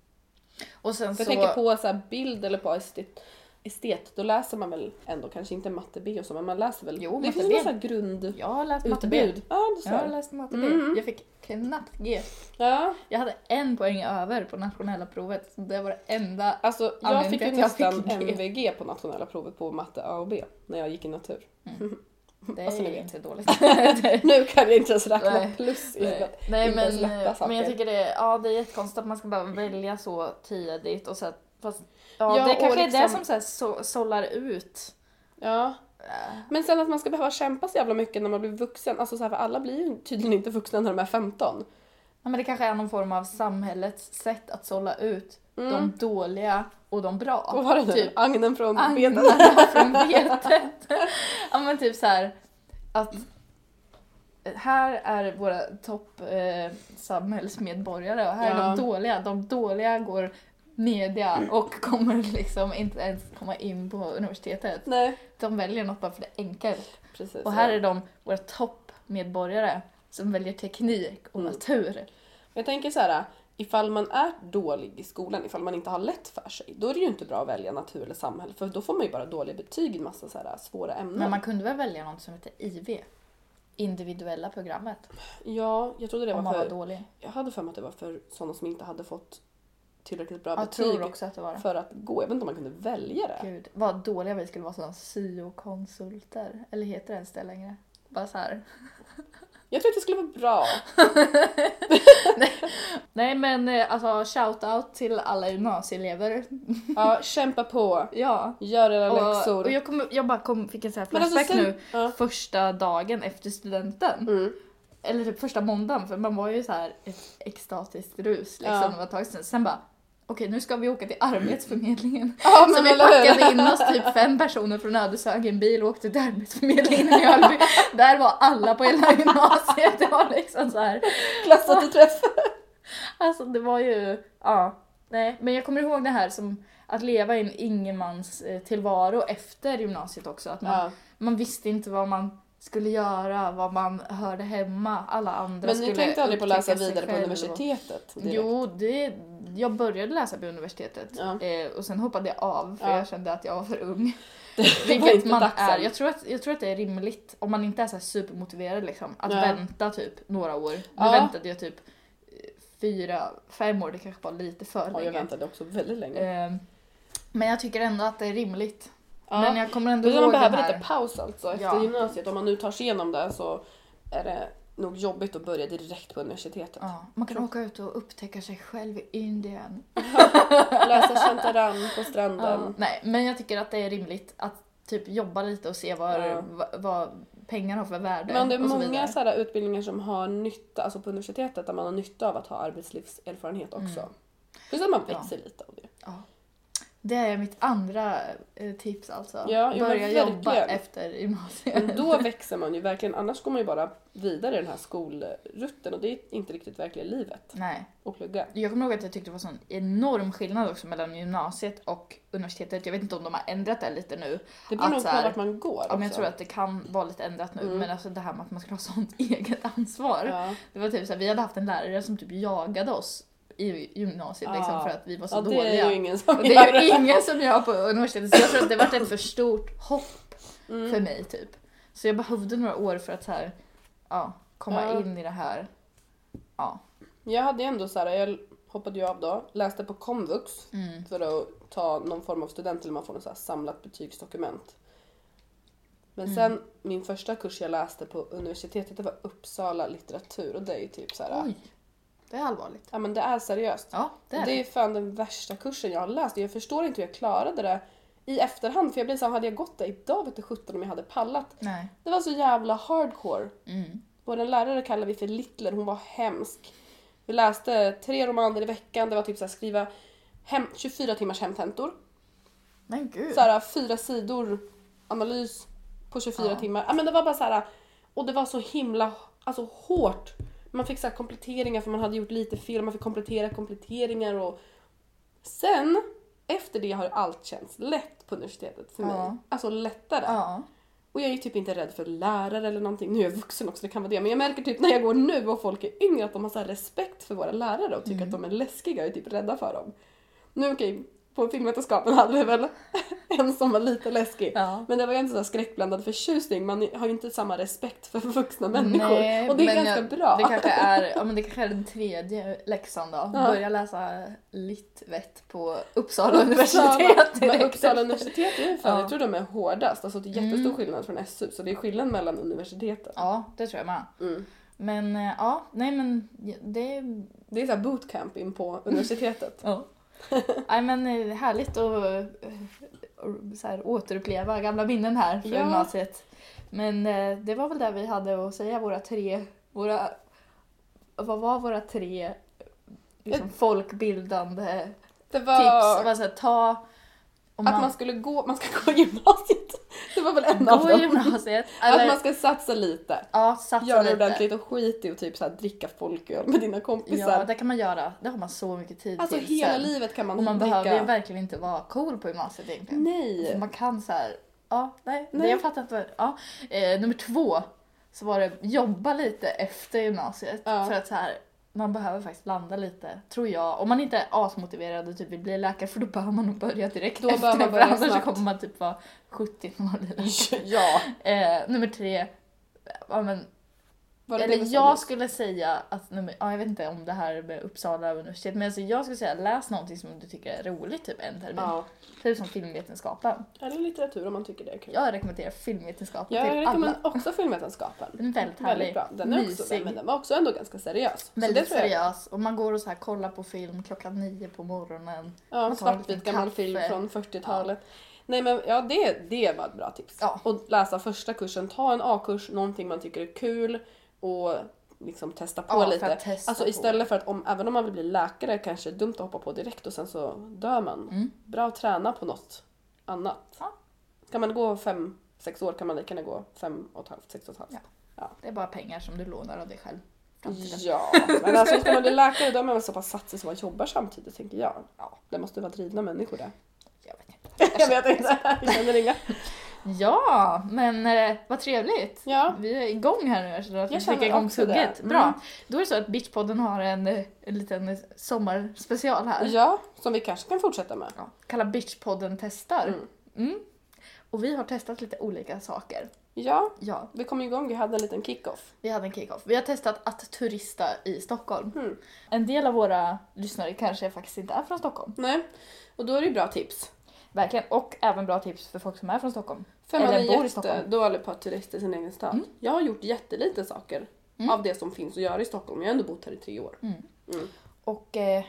[SPEAKER 1] Och sen
[SPEAKER 2] För jag
[SPEAKER 1] så...
[SPEAKER 2] tänker på så här, bild eller på estet, estet, då läser man väl ändå kanske inte matte B och så men man läser väl.
[SPEAKER 1] Jo,
[SPEAKER 2] det
[SPEAKER 1] matte
[SPEAKER 2] finns
[SPEAKER 1] B.
[SPEAKER 2] någon sån här grund...
[SPEAKER 1] Jag har läst matte B.
[SPEAKER 2] Utbud. Ja, du
[SPEAKER 1] Jag har
[SPEAKER 2] ser.
[SPEAKER 1] läst matte B.
[SPEAKER 2] Mhm.
[SPEAKER 1] Jag fick knappt G.
[SPEAKER 2] Ja.
[SPEAKER 1] Jag hade en poäng över på nationella provet. Så det var det enda
[SPEAKER 2] Alltså jag
[SPEAKER 1] Anledningen
[SPEAKER 2] fick
[SPEAKER 1] till
[SPEAKER 2] ju
[SPEAKER 1] att jag fick
[SPEAKER 2] nästan
[SPEAKER 1] G.
[SPEAKER 2] MVG på nationella provet på matte A och B när jag gick i natur.
[SPEAKER 1] Det är
[SPEAKER 2] Alltså, ni vet.
[SPEAKER 1] inte dåligt.
[SPEAKER 2] Nu kan jag inte ens räkna
[SPEAKER 1] Nej.
[SPEAKER 2] plus i
[SPEAKER 1] Nej,
[SPEAKER 2] det.
[SPEAKER 1] Nej
[SPEAKER 2] inte ens
[SPEAKER 1] men,
[SPEAKER 2] lätta saker.
[SPEAKER 1] men jag tycker det, är- ja, det är jättekonstigt att man ska behöva välja så tidigt. Och så att, fast, ja,
[SPEAKER 2] Ja,
[SPEAKER 1] det
[SPEAKER 2] och
[SPEAKER 1] kanske är det
[SPEAKER 2] liksom-
[SPEAKER 1] som så här, så, sållar ut.
[SPEAKER 2] Ja.
[SPEAKER 1] Äh,
[SPEAKER 2] Men sen att man ska behöva kämpa så jävla mycket när man blir vuxen. Alltså så här, för alla blir ju tydligen inte vuxna när de är 15.
[SPEAKER 1] Ja, men det kanske är någon form av samhällets sätt att sålla ut
[SPEAKER 2] Mm.
[SPEAKER 1] de dåliga och de bra.
[SPEAKER 2] Vad var det nu?
[SPEAKER 1] Typ
[SPEAKER 2] Agnen från Benen.
[SPEAKER 1] agnarna från vetet. ja men typ så här att här är våra topp eh, samhällsmedborgare och här är
[SPEAKER 2] Ja.
[SPEAKER 1] de dåliga. De dåliga går media och kommer liksom inte ens komma in på universitetet.
[SPEAKER 2] Nej,
[SPEAKER 1] De väljer något bara för det är enkelt.
[SPEAKER 2] precis.
[SPEAKER 1] Och här är de våra toppmedborgare som väljer teknik och
[SPEAKER 2] Mm.
[SPEAKER 1] natur.
[SPEAKER 2] Jag tänker så här, ifall man är dålig i skolan, ifall man inte har lätt för sig, då är det ju inte bra att välja natur eller samhälle för då får man ju bara dåliga betyg i en massa så här svåra ämnen.
[SPEAKER 1] Men man kunde väl välja något som heter IV? Individuella programmet.
[SPEAKER 2] Ja, jag trodde det
[SPEAKER 1] Om
[SPEAKER 2] var
[SPEAKER 1] man var
[SPEAKER 2] för...
[SPEAKER 1] dålig.
[SPEAKER 2] Jag hade för mig att det var för sådana som inte hade fått tillräckligt bra
[SPEAKER 1] Jag tror
[SPEAKER 2] betyg
[SPEAKER 1] också att det var det.
[SPEAKER 2] för att gå. Jag vet inte om man kunde välja det.
[SPEAKER 1] Gud, vad dåliga vi skulle vara som syokonsulter. Eller heter det ens det längre? Bara så här.
[SPEAKER 2] Jag tror att det skulle vara bra.
[SPEAKER 1] Nej men eh, alltså shout-out till alla gymnasieelever.
[SPEAKER 2] Ja, kämpa på.
[SPEAKER 1] Ja.
[SPEAKER 2] Gör era
[SPEAKER 1] Och,
[SPEAKER 2] läxor.
[SPEAKER 1] och jag, kom, jag bara kom, fick en sån här
[SPEAKER 2] Men alltså
[SPEAKER 1] flashback
[SPEAKER 2] sen-
[SPEAKER 1] nu.
[SPEAKER 2] Ja.
[SPEAKER 1] Första dagen efter studenten.
[SPEAKER 2] Mm.
[SPEAKER 1] Eller typ första måndagen för man var ju så här ett extatiskt rus liksom.
[SPEAKER 2] Ja.
[SPEAKER 1] Det var ett tag sedan. Sen bara okej nu ska vi åka till Arbetsförmedlingen.
[SPEAKER 2] Ja,
[SPEAKER 1] Så
[SPEAKER 2] men
[SPEAKER 1] Alltså, vi
[SPEAKER 2] eller hur?
[SPEAKER 1] packade in oss typ fem personer från Ödeshög i en bil och åkte till Arbetsförmedlingen i Mjölby. Där var alla på hela gymnasiet. Det var liksom så här.
[SPEAKER 2] Klassåterträff.
[SPEAKER 1] Alltså det var ju, ja. Nej, men jag kommer ihåg det här som att leva i en ingenmans eh, tillvaro efter gymnasiet också. Att man,
[SPEAKER 2] Ja.
[SPEAKER 1] man visste inte vad man skulle göra, vad man hörde hemma. Alla andra
[SPEAKER 2] Men ni
[SPEAKER 1] skulle
[SPEAKER 2] tänkte aldrig på att läsa
[SPEAKER 1] upptäcka sig
[SPEAKER 2] vidare på
[SPEAKER 1] själv.
[SPEAKER 2] universitetet? direkt?
[SPEAKER 1] Jo, det, jag började läsa på universitetet
[SPEAKER 2] Ja.
[SPEAKER 1] eh, och sen hoppade jag av för
[SPEAKER 2] Ja.
[SPEAKER 1] jag kände att jag var för ung.
[SPEAKER 2] Det var
[SPEAKER 1] Vilket
[SPEAKER 2] inte
[SPEAKER 1] man
[SPEAKER 2] dags
[SPEAKER 1] är.
[SPEAKER 2] än.
[SPEAKER 1] Jag tror, att, jag tror att det är rimligt om man inte är så här supermotiverad liksom, att
[SPEAKER 2] Nej.
[SPEAKER 1] vänta typ några år. Nu
[SPEAKER 2] Ja.
[SPEAKER 1] väntade jag typ eh, fyra, fem år, det kanske var lite för
[SPEAKER 2] Ja, jag
[SPEAKER 1] länge.
[SPEAKER 2] väntade också väldigt länge.
[SPEAKER 1] Eh, men jag tycker ändå att det är rimligt.
[SPEAKER 2] Ja.
[SPEAKER 1] Men jag kommer ändå
[SPEAKER 2] Men man
[SPEAKER 1] ihåg den
[SPEAKER 2] behöver
[SPEAKER 1] här.
[SPEAKER 2] lite paus alltså efter
[SPEAKER 1] Ja.
[SPEAKER 2] gymnasiet. Om man nu tar sig igenom det så är det nog jobbigt att börja direkt på universitetet.
[SPEAKER 1] Ja, man kan åka ut och upptäcka sig själv i Indien.
[SPEAKER 2] Läsa Chantaran på stranden.
[SPEAKER 1] Ja. Nej, men jag tycker att det är rimligt att typ jobba lite och se vad,
[SPEAKER 2] Ja.
[SPEAKER 1] vad, vad pengar har för värde.
[SPEAKER 2] Men det är
[SPEAKER 1] och så
[SPEAKER 2] många
[SPEAKER 1] vidare.
[SPEAKER 2] så här utbildningar som har nytta, alltså på universitetet, där man har nytta av att ha arbetslivserfarenhet också.
[SPEAKER 1] Mm.
[SPEAKER 2] Plus att man
[SPEAKER 1] Ja.
[SPEAKER 2] växer lite av det.
[SPEAKER 1] Det är mitt andra eh, tips alltså.
[SPEAKER 2] Ja, jo, men
[SPEAKER 1] Börja jobba
[SPEAKER 2] verkligen.
[SPEAKER 1] efter gymnasiet.
[SPEAKER 2] Men då växer man ju verkligen, annars går man ju bara vidare i den här skolrutten och det är inte riktigt verkliga livet
[SPEAKER 1] Nej,
[SPEAKER 2] att plugga.
[SPEAKER 1] jag kommer ihåg att jag tyckte det var sån enorm skillnad också mellan gymnasiet och universitetet. Jag vet inte om de har ändrat det lite nu.
[SPEAKER 2] Det beror
[SPEAKER 1] Att
[SPEAKER 2] nog
[SPEAKER 1] så
[SPEAKER 2] på
[SPEAKER 1] här-
[SPEAKER 2] vart man går.
[SPEAKER 1] Alltså, Ja, men jag
[SPEAKER 2] också.
[SPEAKER 1] tror att det kan vara lite ändrat nu.
[SPEAKER 2] Mm.
[SPEAKER 1] Men alltså det här med att man ska ha sånt eget ansvar.
[SPEAKER 2] Ja.
[SPEAKER 1] Det var typ såhär, vi hade haft en lärare som typ jagade oss i gymnasiet
[SPEAKER 2] Ja.
[SPEAKER 1] liksom, för att vi var så
[SPEAKER 2] ja, det
[SPEAKER 1] dåliga.
[SPEAKER 2] är ju ingen som
[SPEAKER 1] Och det är
[SPEAKER 2] gör
[SPEAKER 1] ju ingen som gör på universitetet så jag tror att det varit ett för stort hopp
[SPEAKER 2] Mm.
[SPEAKER 1] för mig typ. Så jag behövde några år för att så här, ja, komma
[SPEAKER 2] Ja.
[SPEAKER 1] in i det här. Ja.
[SPEAKER 2] Jag hade ju ändå så här, jag hoppade ju av då, läste på komvux
[SPEAKER 1] Mm.
[SPEAKER 2] för att ta någon form av student eller man får något så här samlat betygsdokument. Men
[SPEAKER 1] Mm.
[SPEAKER 2] sen min första kurs jag läste på universitetet det var Uppsala litteratur och det är ju typ så här,
[SPEAKER 1] Oj, det är allvarligt.
[SPEAKER 2] ja men det är seriöst.
[SPEAKER 1] Ja, det är
[SPEAKER 2] det
[SPEAKER 1] det.
[SPEAKER 2] är fan den värsta kursen jag har läst och jag förstår inte hur jag klarade det i efterhand för jag blir så här, hade jag gått det idag vet du sjutton om jag hade pallat.
[SPEAKER 1] Nej.
[SPEAKER 2] Det var så jävla hardcore.
[SPEAKER 1] Mm.
[SPEAKER 2] Vår lärare kallade vi för Littler, hon var hemsk. Vi läste tre romaner i veckan, det var typ så här skriva hem, 24 timmars hemtentor.
[SPEAKER 1] Men gud.
[SPEAKER 2] Så här, fyra sidor analys på 24
[SPEAKER 1] Ja.
[SPEAKER 2] timmar. Ja, men det var bara så här, och det var så himla alltså, hårt. Man fick så här kompletteringar för man hade gjort lite fel, man fick komplettera kompletteringar och sen efter det har allt känts lätt på universitetet för mig.
[SPEAKER 1] Ja.
[SPEAKER 2] Alltså lättare.
[SPEAKER 1] Ja.
[SPEAKER 2] Och jag är typ inte rädd för lärare eller någonting. Nu är jag vuxen också, det kan vara det. Men jag märker typ när jag går nu och folk är yngre att de har så här respekt för våra lärare och tycker att
[SPEAKER 1] Mm.
[SPEAKER 2] de är läskiga och är typ rädda för dem. Nu okej, på filmvetenskapen hade vi väl en som var lite läskig.
[SPEAKER 1] Ja.
[SPEAKER 2] Men det var ju inte så här skräckblandad förtjusning. Man har ju inte samma respekt för vuxna människor.
[SPEAKER 1] Nej,
[SPEAKER 2] och det är
[SPEAKER 1] men
[SPEAKER 2] ganska
[SPEAKER 1] jag-
[SPEAKER 2] bra.
[SPEAKER 1] Det kanske, är, ja, men det kanske är den tredje läxan då.
[SPEAKER 2] Ja.
[SPEAKER 1] Börja läsa litvett på Uppsala
[SPEAKER 2] Uppsala-
[SPEAKER 1] universitet.
[SPEAKER 2] Men
[SPEAKER 1] direkt.
[SPEAKER 2] Uppsala universitet är ju fan,
[SPEAKER 1] Ja.
[SPEAKER 2] jag tror de är hårdast. Alltså det är jättestor
[SPEAKER 1] Mm.
[SPEAKER 2] skillnad från SU. Så det är skillnad mellan universiteten.
[SPEAKER 1] Ja, det tror jag med.
[SPEAKER 2] Mm.
[SPEAKER 1] Men eh, ja, nej men det...
[SPEAKER 2] Det är så här bootcamp in på universitetet.
[SPEAKER 1] Ja. nej men eh, det är härligt att eh, och så här, återuppleva gamla minnen här från
[SPEAKER 2] Ja.
[SPEAKER 1] gymnasiet. Men eh, det var väl det vi hade att säga, våra tre... Våra, vad var våra tre liksom, folkbildande
[SPEAKER 2] Det
[SPEAKER 1] tips? Det var så här, ta... Om
[SPEAKER 2] Att man skulle gå, man ska gå gymnasiet. Det var väl en av
[SPEAKER 1] gå i
[SPEAKER 2] dem.
[SPEAKER 1] gymnasiet.
[SPEAKER 2] Att
[SPEAKER 1] Eller,
[SPEAKER 2] man ska satsa lite.
[SPEAKER 1] ja, satsa
[SPEAKER 2] Göra det
[SPEAKER 1] lite.
[SPEAKER 2] ordentligt och skit i och typ så här dricka folköl med dina kompisar.
[SPEAKER 1] Ja, det kan man göra. Det har man så mycket tid
[SPEAKER 2] alltså
[SPEAKER 1] till
[SPEAKER 2] hela
[SPEAKER 1] sen.
[SPEAKER 2] livet kan man,
[SPEAKER 1] Och man
[SPEAKER 2] dricka.
[SPEAKER 1] behöver ju verkligen inte vara cool på gymnasiet egentligen. För
[SPEAKER 2] Nej.
[SPEAKER 1] Alltså, man kan så här, ja, nej,
[SPEAKER 2] Nej.
[SPEAKER 1] nej. jag fattar inte. vad- Ja. Eh, nummer två så var det jobba lite efter gymnasiet.
[SPEAKER 2] Ja.
[SPEAKER 1] För att så här, man behöver faktiskt landa lite, tror jag. Om man inte är asmotiverad och typ vill bli läkare för då behöver man nog börja direkt
[SPEAKER 2] Då
[SPEAKER 1] efter.
[SPEAKER 2] bör man
[SPEAKER 1] för
[SPEAKER 2] börja
[SPEAKER 1] annars så
[SPEAKER 2] snabbt.
[SPEAKER 1] kommer man typ vara 70 när man blir läkare.
[SPEAKER 2] Ja.
[SPEAKER 1] Eh, nummer tre, ja, men
[SPEAKER 2] Var det det
[SPEAKER 1] eller
[SPEAKER 2] vi
[SPEAKER 1] jag
[SPEAKER 2] sa?
[SPEAKER 1] skulle säga att, nej, men, ja, jag vet inte om det här med Uppsala universitet, men alltså jag skulle säga läs någonting som du tycker är roligt typ en termin.
[SPEAKER 2] Ja.
[SPEAKER 1] Typ som filmvetenskapen.
[SPEAKER 2] Eller litteratur om man tycker det är kul.
[SPEAKER 1] Jag rekommenderar filmvetenskapen
[SPEAKER 2] jag
[SPEAKER 1] till alla.
[SPEAKER 2] rekommenderar också filmvetenskapen.
[SPEAKER 1] Den är väldigt
[SPEAKER 2] Väldigt
[SPEAKER 1] härlig,
[SPEAKER 2] bra. Den är också,
[SPEAKER 1] mysig,
[SPEAKER 2] men den var också ändå ganska seriös.
[SPEAKER 1] väldigt
[SPEAKER 2] så det tror jag.
[SPEAKER 1] seriös och man går och så här kollar på film klockan nio på morgonen.
[SPEAKER 2] Ja,
[SPEAKER 1] Man
[SPEAKER 2] en
[SPEAKER 1] tar en
[SPEAKER 2] svartvit
[SPEAKER 1] liten
[SPEAKER 2] gammal
[SPEAKER 1] kaffe.
[SPEAKER 2] film från 40-talet. Nej men ja, det, det var ett bra tips.
[SPEAKER 1] Ja.
[SPEAKER 2] Och läsa första kursen, ta en A-kurs, någonting man tycker är kul och liksom testa på
[SPEAKER 1] Ja, för
[SPEAKER 2] lite.
[SPEAKER 1] att testa
[SPEAKER 2] Alltså
[SPEAKER 1] på.
[SPEAKER 2] istället för att om, även om man vill bli läkare kanske det är dumt att hoppa på direkt och sen så dör man.
[SPEAKER 1] Mm.
[SPEAKER 2] Bra att träna på något annat.
[SPEAKER 1] Ja.
[SPEAKER 2] Ska man gå fem, sex år kan man lika gärna gå fem och ett halvt, sex och ett halvt.
[SPEAKER 1] Ja. Det är bara pengar som du lånar av dig själv. Framtiden.
[SPEAKER 2] Ja, men alltså ska man bli läkare då är man så pass satsig som man jobbar samtidigt tänker jag.
[SPEAKER 1] Ja.
[SPEAKER 2] Det måste vara drivna människor det.
[SPEAKER 1] Jag vet inte.
[SPEAKER 2] Jag vet inte, jag känner inga.
[SPEAKER 1] Ja, men eh, vad trevligt!
[SPEAKER 2] Ja,
[SPEAKER 1] Vi är igång här nu. Jag känner att
[SPEAKER 2] Jag
[SPEAKER 1] vi fick
[SPEAKER 2] känner
[SPEAKER 1] igång
[SPEAKER 2] också det.
[SPEAKER 1] tugget.
[SPEAKER 2] Mm.
[SPEAKER 1] Bra. Då är det så att Bitchpodden har en, eh, en liten sommarspecial här.
[SPEAKER 2] ja, som vi kanske kan fortsätta med.
[SPEAKER 1] Ja. Kallad Bitchpodden testar.
[SPEAKER 2] Mm.
[SPEAKER 1] Mm. Och vi har testat lite olika saker.
[SPEAKER 2] Ja,
[SPEAKER 1] Ja,
[SPEAKER 2] vi kom igång, vi hade en liten kick-off.
[SPEAKER 1] vi hade en kick-off. Vi har testat att turista i Stockholm.
[SPEAKER 2] Mm.
[SPEAKER 1] En del av våra lyssnare kanske faktiskt inte är från Stockholm.
[SPEAKER 2] Nej, och då är det ju bra tips.
[SPEAKER 1] Verkligen. Och även bra tips för folk som är från Stockholm.
[SPEAKER 2] För man
[SPEAKER 1] Eller
[SPEAKER 2] är
[SPEAKER 1] bor i Stockholm. Mm.
[SPEAKER 2] jättedålig på att turista i sin egen stad. Jag har gjort jättelite saker av det som finns att göra i Stockholm. Jag har ändå bott här i tre år.
[SPEAKER 1] Mm. Och eh,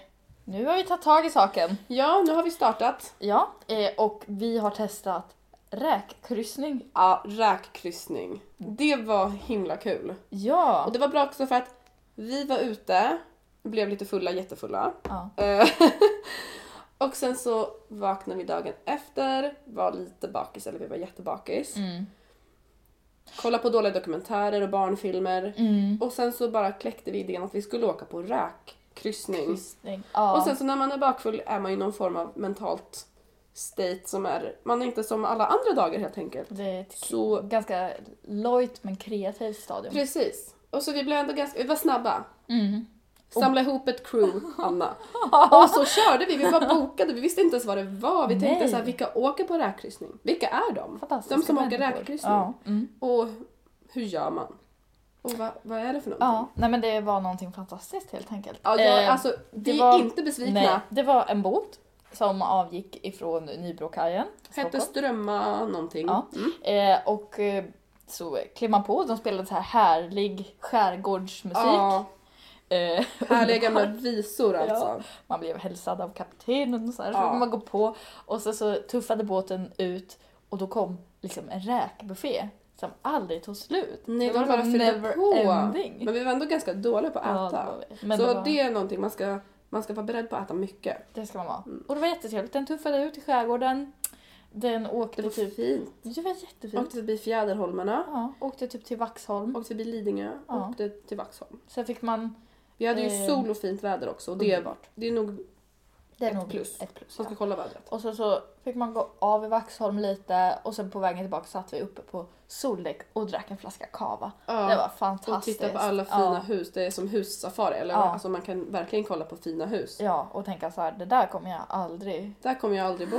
[SPEAKER 1] nu har vi tagit tag i saken.
[SPEAKER 2] Ja, nu har vi startat.
[SPEAKER 1] Ja, eh, och vi har testat räkkryssning.
[SPEAKER 2] Ja, räkkryssning. Det var himla kul.
[SPEAKER 1] Ja.
[SPEAKER 2] Och det var bra också för att vi var ute, blev lite fulla, jättefulla.
[SPEAKER 1] ja.
[SPEAKER 2] Eh, och sen så vaknade vi dagen efter, var lite bakis, eller vi var jättebakis.
[SPEAKER 1] Mm.
[SPEAKER 2] Kolla på dåliga dokumentärer och barnfilmer.
[SPEAKER 1] Mm.
[SPEAKER 2] Och sen så bara kläckte vi idén att vi skulle åka på räkkryssning.
[SPEAKER 1] Kryssning. Ja.
[SPEAKER 2] Och sen så när man är bakfull är man i någon form av mentalt state som är, man är inte som alla andra dagar helt enkelt.
[SPEAKER 1] det är ett
[SPEAKER 2] Så
[SPEAKER 1] ganska lojt men kreativt stadium.
[SPEAKER 2] precis. Och så vi blev ändå ganska, vi var snabba.
[SPEAKER 1] Mm.
[SPEAKER 2] Samla ihop ett crew, Anna. Och så körde vi, vi var bokade, vi visste inte ens vad det var. Vi tänkte
[SPEAKER 1] Nej.
[SPEAKER 2] så här, vilka åker på räkkryssning? Vilka är de?
[SPEAKER 1] Fantastiska
[SPEAKER 2] De som åker
[SPEAKER 1] människor.
[SPEAKER 2] räkkryssning.
[SPEAKER 1] Ja. Mm.
[SPEAKER 2] Och hur gör man? Och vad, vad är det för någonting?
[SPEAKER 1] ja, nej men det var någonting fantastiskt helt enkelt.
[SPEAKER 2] Ja, jag,
[SPEAKER 1] Eh,
[SPEAKER 2] alltså, vi
[SPEAKER 1] var-
[SPEAKER 2] är inte besvikna.
[SPEAKER 1] nej, det var en båt som avgick ifrån Nybrokajen.
[SPEAKER 2] Hette Mm.
[SPEAKER 1] Stockholm. Eh, Eh, liksom zul
[SPEAKER 2] alltså.
[SPEAKER 1] Den
[SPEAKER 2] Mm. Det
[SPEAKER 1] åkte
[SPEAKER 2] var
[SPEAKER 1] typ...
[SPEAKER 2] fint.
[SPEAKER 1] Det var jättefint.
[SPEAKER 2] Åkte förbi Fjäderholmarna,
[SPEAKER 1] Ja, åkte typ till Vaxholm.
[SPEAKER 2] åkte förbi Lidingö,
[SPEAKER 1] Ja.
[SPEAKER 2] åkte till Vaxholm.
[SPEAKER 1] Sen fick man...
[SPEAKER 2] Vi hade ju
[SPEAKER 1] Eh.
[SPEAKER 2] sol och fint väder också och det,
[SPEAKER 1] Underbart.
[SPEAKER 2] det är nog
[SPEAKER 1] Det
[SPEAKER 2] Ett plus.
[SPEAKER 1] Ett plus
[SPEAKER 2] som
[SPEAKER 1] ja.
[SPEAKER 2] ska kolla vädret.
[SPEAKER 1] Och sen så fick man gå av i Vaxholm lite och sen på vägen tillbaka satt vi uppe på soldäck och drack en flaska kava.
[SPEAKER 2] Ja.
[SPEAKER 1] Det var
[SPEAKER 2] och
[SPEAKER 1] fantastiskt.
[SPEAKER 2] titta på alla fina
[SPEAKER 1] ja.
[SPEAKER 2] hus, det är som hussafari eller
[SPEAKER 1] Ja.
[SPEAKER 2] alltså man kan verkligen kolla på fina hus.
[SPEAKER 1] Ja, och tänka så här, det där kommer jag aldrig...
[SPEAKER 2] Där kommer jag aldrig bo.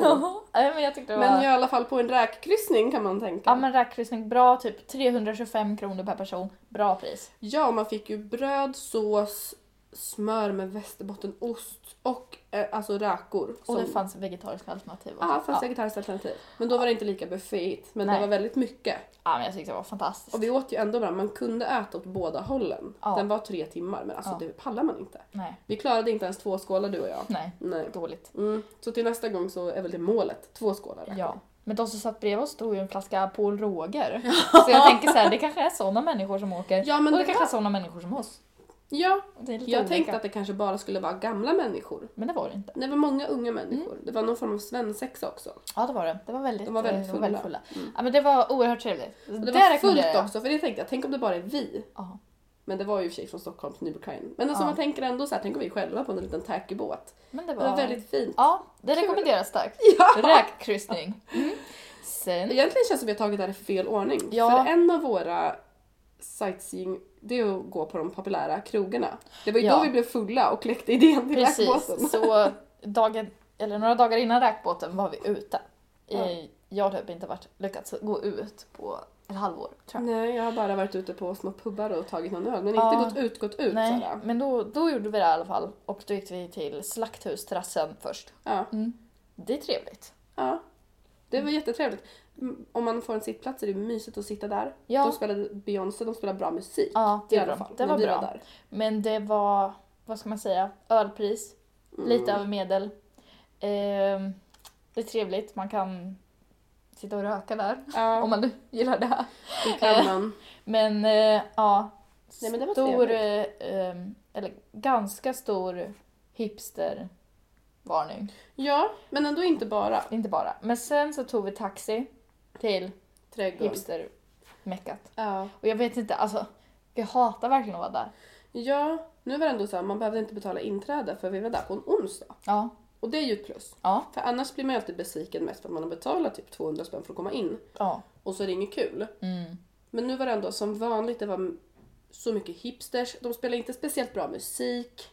[SPEAKER 1] Nej men jag tyckte det var...
[SPEAKER 2] Men jag är i alla fall på en räkkryssning kan man tänka.
[SPEAKER 1] Ja men rackkryssning, bra typ 325 kronor per person, bra pris.
[SPEAKER 2] Ja, man fick ju bröd, sås, smör med västerbottenost och eh, alltså räkor.
[SPEAKER 1] Och det
[SPEAKER 2] som-
[SPEAKER 1] fanns vegetariska alternativ också.
[SPEAKER 2] Ja, fanns säkert alternativ. Men då var det inte lika bufféigt, men
[SPEAKER 1] Nej.
[SPEAKER 2] det var väldigt mycket.
[SPEAKER 1] ja men jag tyckte det var fantastiskt.
[SPEAKER 2] Och vi åt ju ändå bra, man kunde äta åt båda hållen.
[SPEAKER 1] Ja.
[SPEAKER 2] Den var tre timmar, men alltså
[SPEAKER 1] Ja.
[SPEAKER 2] det pallar man inte.
[SPEAKER 1] Nej,
[SPEAKER 2] Vi klarade inte ens två skålar du och jag.
[SPEAKER 1] nej,
[SPEAKER 2] Nej.
[SPEAKER 1] dåligt.
[SPEAKER 2] Mm. Så till nästa gång så är väl det målet, två skålar. räkor.
[SPEAKER 1] Ja. Men de som satt bredvid oss stod ju en flaska Paul Roger. Så jag tänker så här, det kanske är sådana människor som åker.
[SPEAKER 2] Ja, men
[SPEAKER 1] och det,
[SPEAKER 2] det
[SPEAKER 1] kanske
[SPEAKER 2] var-
[SPEAKER 1] är sådana människor som oss.
[SPEAKER 2] ja
[SPEAKER 1] Det är lite
[SPEAKER 2] jag
[SPEAKER 1] olika.
[SPEAKER 2] tänkte att det kanske bara skulle vara gamla människor.
[SPEAKER 1] Men det var det inte.
[SPEAKER 2] Det var många unga
[SPEAKER 1] Mm.
[SPEAKER 2] människor. Det var någon form av svensexa också.
[SPEAKER 1] Ja det var det. Det var väldigt,
[SPEAKER 2] De var väldigt
[SPEAKER 1] eh,
[SPEAKER 2] fulla. Mm.
[SPEAKER 1] väldigt fulla. Ja, men det var oerhört trevligt.
[SPEAKER 2] Och det
[SPEAKER 1] Där
[SPEAKER 2] var
[SPEAKER 1] rekommenderar
[SPEAKER 2] fullt
[SPEAKER 1] jag.
[SPEAKER 2] också, för det tänkte jag, tänk om det bara är vi.
[SPEAKER 1] Ja.
[SPEAKER 2] Men det var ju i och för sig från Stockholm till Nybrokajen. Men alltså
[SPEAKER 1] Ja.
[SPEAKER 2] man tänker ändå så här, tänk om vi själva på en liten tackybåt.
[SPEAKER 1] Men det
[SPEAKER 2] Det
[SPEAKER 1] var...
[SPEAKER 2] var väldigt fint.
[SPEAKER 1] Ja, det rekommenderas starkt.
[SPEAKER 2] Ja.
[SPEAKER 1] Räkkryssning. Mm. Sen...
[SPEAKER 2] Egentligen känns det som vi har tagit det här i fel ordning.
[SPEAKER 1] Ja.
[SPEAKER 2] För en av våra sightseeing, det är att gå på de populära krogarna. Det var ju
[SPEAKER 1] Ja.
[SPEAKER 2] då vi blev fulla och kläckte idén till räkbåten.
[SPEAKER 1] Precis, så dagen, eller några dagar innan räkbåten var vi ute. Eh, Jag har typ inte varit, lyckats gå ut på ett halvår tror jag.
[SPEAKER 2] Nej, jag har bara varit ute på små pubbar och tagit någon öl, men
[SPEAKER 1] Ja.
[SPEAKER 2] inte gått ut, gått ut.
[SPEAKER 1] Nej,
[SPEAKER 2] Sara.
[SPEAKER 1] men då, då gjorde vi det i alla fall och då gick vi till Slakthusterrassen först.
[SPEAKER 2] Ja.
[SPEAKER 1] Det är trevligt.
[SPEAKER 2] ja. Det var jättetrevligt. Mm, Om man får en sittplats är det mysigt att sitta där.
[SPEAKER 1] Ja.
[SPEAKER 2] De spelade Beyoncé, de spelade bra musik.
[SPEAKER 1] Ja,
[SPEAKER 2] I
[SPEAKER 1] det,
[SPEAKER 2] alla
[SPEAKER 1] var bra.
[SPEAKER 2] fall,
[SPEAKER 1] det
[SPEAKER 2] när
[SPEAKER 1] var
[SPEAKER 2] vi
[SPEAKER 1] bra.
[SPEAKER 2] där.
[SPEAKER 1] Men det var, vad ska man säga, ölpris.
[SPEAKER 2] Mm.
[SPEAKER 1] Lite över medel. Ehm, det är trevligt, man kan sitta och röka där om
[SPEAKER 2] Mm. Ja,
[SPEAKER 1] man nu gillar det här.
[SPEAKER 2] det kan man.
[SPEAKER 1] Men eh, ja,
[SPEAKER 2] Nej, men det var
[SPEAKER 1] stor, eh, ehm, eller ganska stor hipstervarning.
[SPEAKER 2] Ja, men ändå inte bara
[SPEAKER 1] Inte bara. Men sen så tog vi taxi till
[SPEAKER 2] trädgården.
[SPEAKER 1] hipstermeckat.
[SPEAKER 2] Ja.
[SPEAKER 1] Och jag vet inte, alltså jag hatar verkligen att vara där.
[SPEAKER 2] ja, nu var det ändå så här, man behövde inte betala inträde för vi var där på en onsdag.
[SPEAKER 1] Ja,
[SPEAKER 2] Och det är ju ett plus.
[SPEAKER 1] ja,
[SPEAKER 2] För annars blir man ju alltid besviken mest för att man har betalat typ 200 spänn för att komma in
[SPEAKER 1] ja.
[SPEAKER 2] och så är det inget kul.
[SPEAKER 1] Mm.
[SPEAKER 2] Men nu var det ändå som vanligt, det var så mycket hipsters, de spelade inte speciellt bra musik.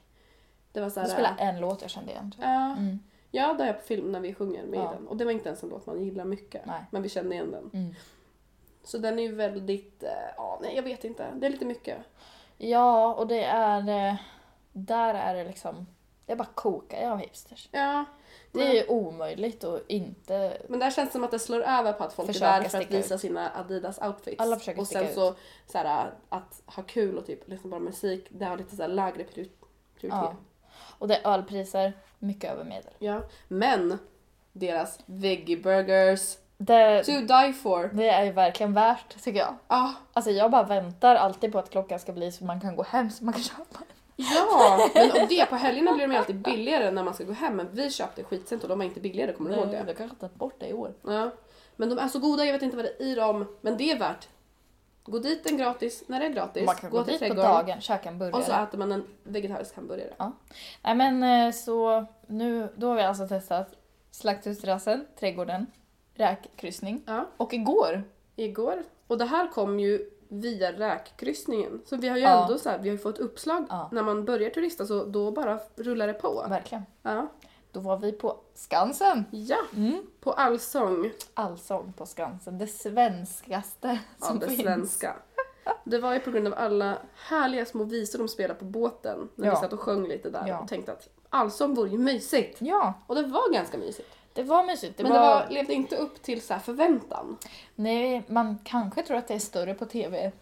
[SPEAKER 2] Det var
[SPEAKER 1] Vi
[SPEAKER 2] såhär...
[SPEAKER 1] spelade en låt jag kände igen. tror jag.
[SPEAKER 2] Ja,
[SPEAKER 1] Mm.
[SPEAKER 2] ja, det har jag på film när vi sjunger med
[SPEAKER 1] Ja.
[SPEAKER 2] i den. Och det var inte ens en låt man gillar mycket.
[SPEAKER 1] Nej.
[SPEAKER 2] Men vi kände igen den.
[SPEAKER 1] Mm.
[SPEAKER 2] Så den är ju väldigt, eh, ja nej jag vet inte, det är lite mycket.
[SPEAKER 1] Ja, och det är... eh, Där är det liksom... Det är bara kokar jag av hipsters.
[SPEAKER 2] Ja.
[SPEAKER 1] Det är ju omöjligt att inte...
[SPEAKER 2] Men där känns det som att det slår över på att folk
[SPEAKER 1] Försöka
[SPEAKER 2] är där för att
[SPEAKER 1] sticka
[SPEAKER 2] visa sina Adidas outfits.
[SPEAKER 1] Alla försöker
[SPEAKER 2] och
[SPEAKER 1] sticka
[SPEAKER 2] sen så, så här, att ha kul och typ lyssna på musik, det har lite så här lägre priori-
[SPEAKER 1] Ja.
[SPEAKER 2] prioritet.
[SPEAKER 1] Och det är ölpriser, mycket över medel.
[SPEAKER 2] Ja. Men deras veggie burgers,
[SPEAKER 1] Det,
[SPEAKER 2] to die for.
[SPEAKER 1] det är ju verkligen värt tycker jag.
[SPEAKER 2] Ah,
[SPEAKER 1] Alltså jag bara väntar alltid på att klockan ska bli så man kan gå hem så man kan köpa.
[SPEAKER 2] ja, men och det på helgerna blir de ju alltid billigare när man ska gå hem men vi köpte skitsent och de var inte billigare, kommer du ihåg det?
[SPEAKER 1] Jag kanske tagit bort det i år.
[SPEAKER 2] Ja. Men de är så goda, jag vet inte vad det är i dem, men det är värt. Gå dit en gratis, när det är gratis,
[SPEAKER 1] Man kan gå, dit på dagen, käka en burgare.
[SPEAKER 2] och så äter man en vegetarisk hamburgare.
[SPEAKER 1] Nej men eh, så nu, då har vi alltså testat Slakthusterrassen, Trädgården, Räkkryssning
[SPEAKER 2] Ja.
[SPEAKER 1] och igår.
[SPEAKER 2] igår. Och det här kom ju via räkkryssningen. Så vi har ju
[SPEAKER 1] Ja.
[SPEAKER 2] ändå så här, vi har ju fått uppslag.
[SPEAKER 1] Ja. Mm.
[SPEAKER 2] När man börjar turista så då bara rullar det på.
[SPEAKER 1] Verkligen.
[SPEAKER 2] Ja,
[SPEAKER 1] Då var vi på Skansen.
[SPEAKER 2] ja.
[SPEAKER 1] Mm.
[SPEAKER 2] på allsång.
[SPEAKER 1] Allsång på Skansen, det svenskaste
[SPEAKER 2] Ja,
[SPEAKER 1] som
[SPEAKER 2] det
[SPEAKER 1] finns.
[SPEAKER 2] svenska. Det var ju på grund av alla härliga små visor de spelade på båten. När
[SPEAKER 1] Ja.
[SPEAKER 2] vi satt och sjöng lite där
[SPEAKER 1] Ja.
[SPEAKER 2] och tänkte att allsång vore ju mysigt.
[SPEAKER 1] Ja,
[SPEAKER 2] Och det var ganska mysigt.
[SPEAKER 1] det var mysigt. Det
[SPEAKER 2] Men
[SPEAKER 1] var...
[SPEAKER 2] det var, levde inte upp till så här förväntan.
[SPEAKER 1] Nej, man kanske tror att det är större på TV.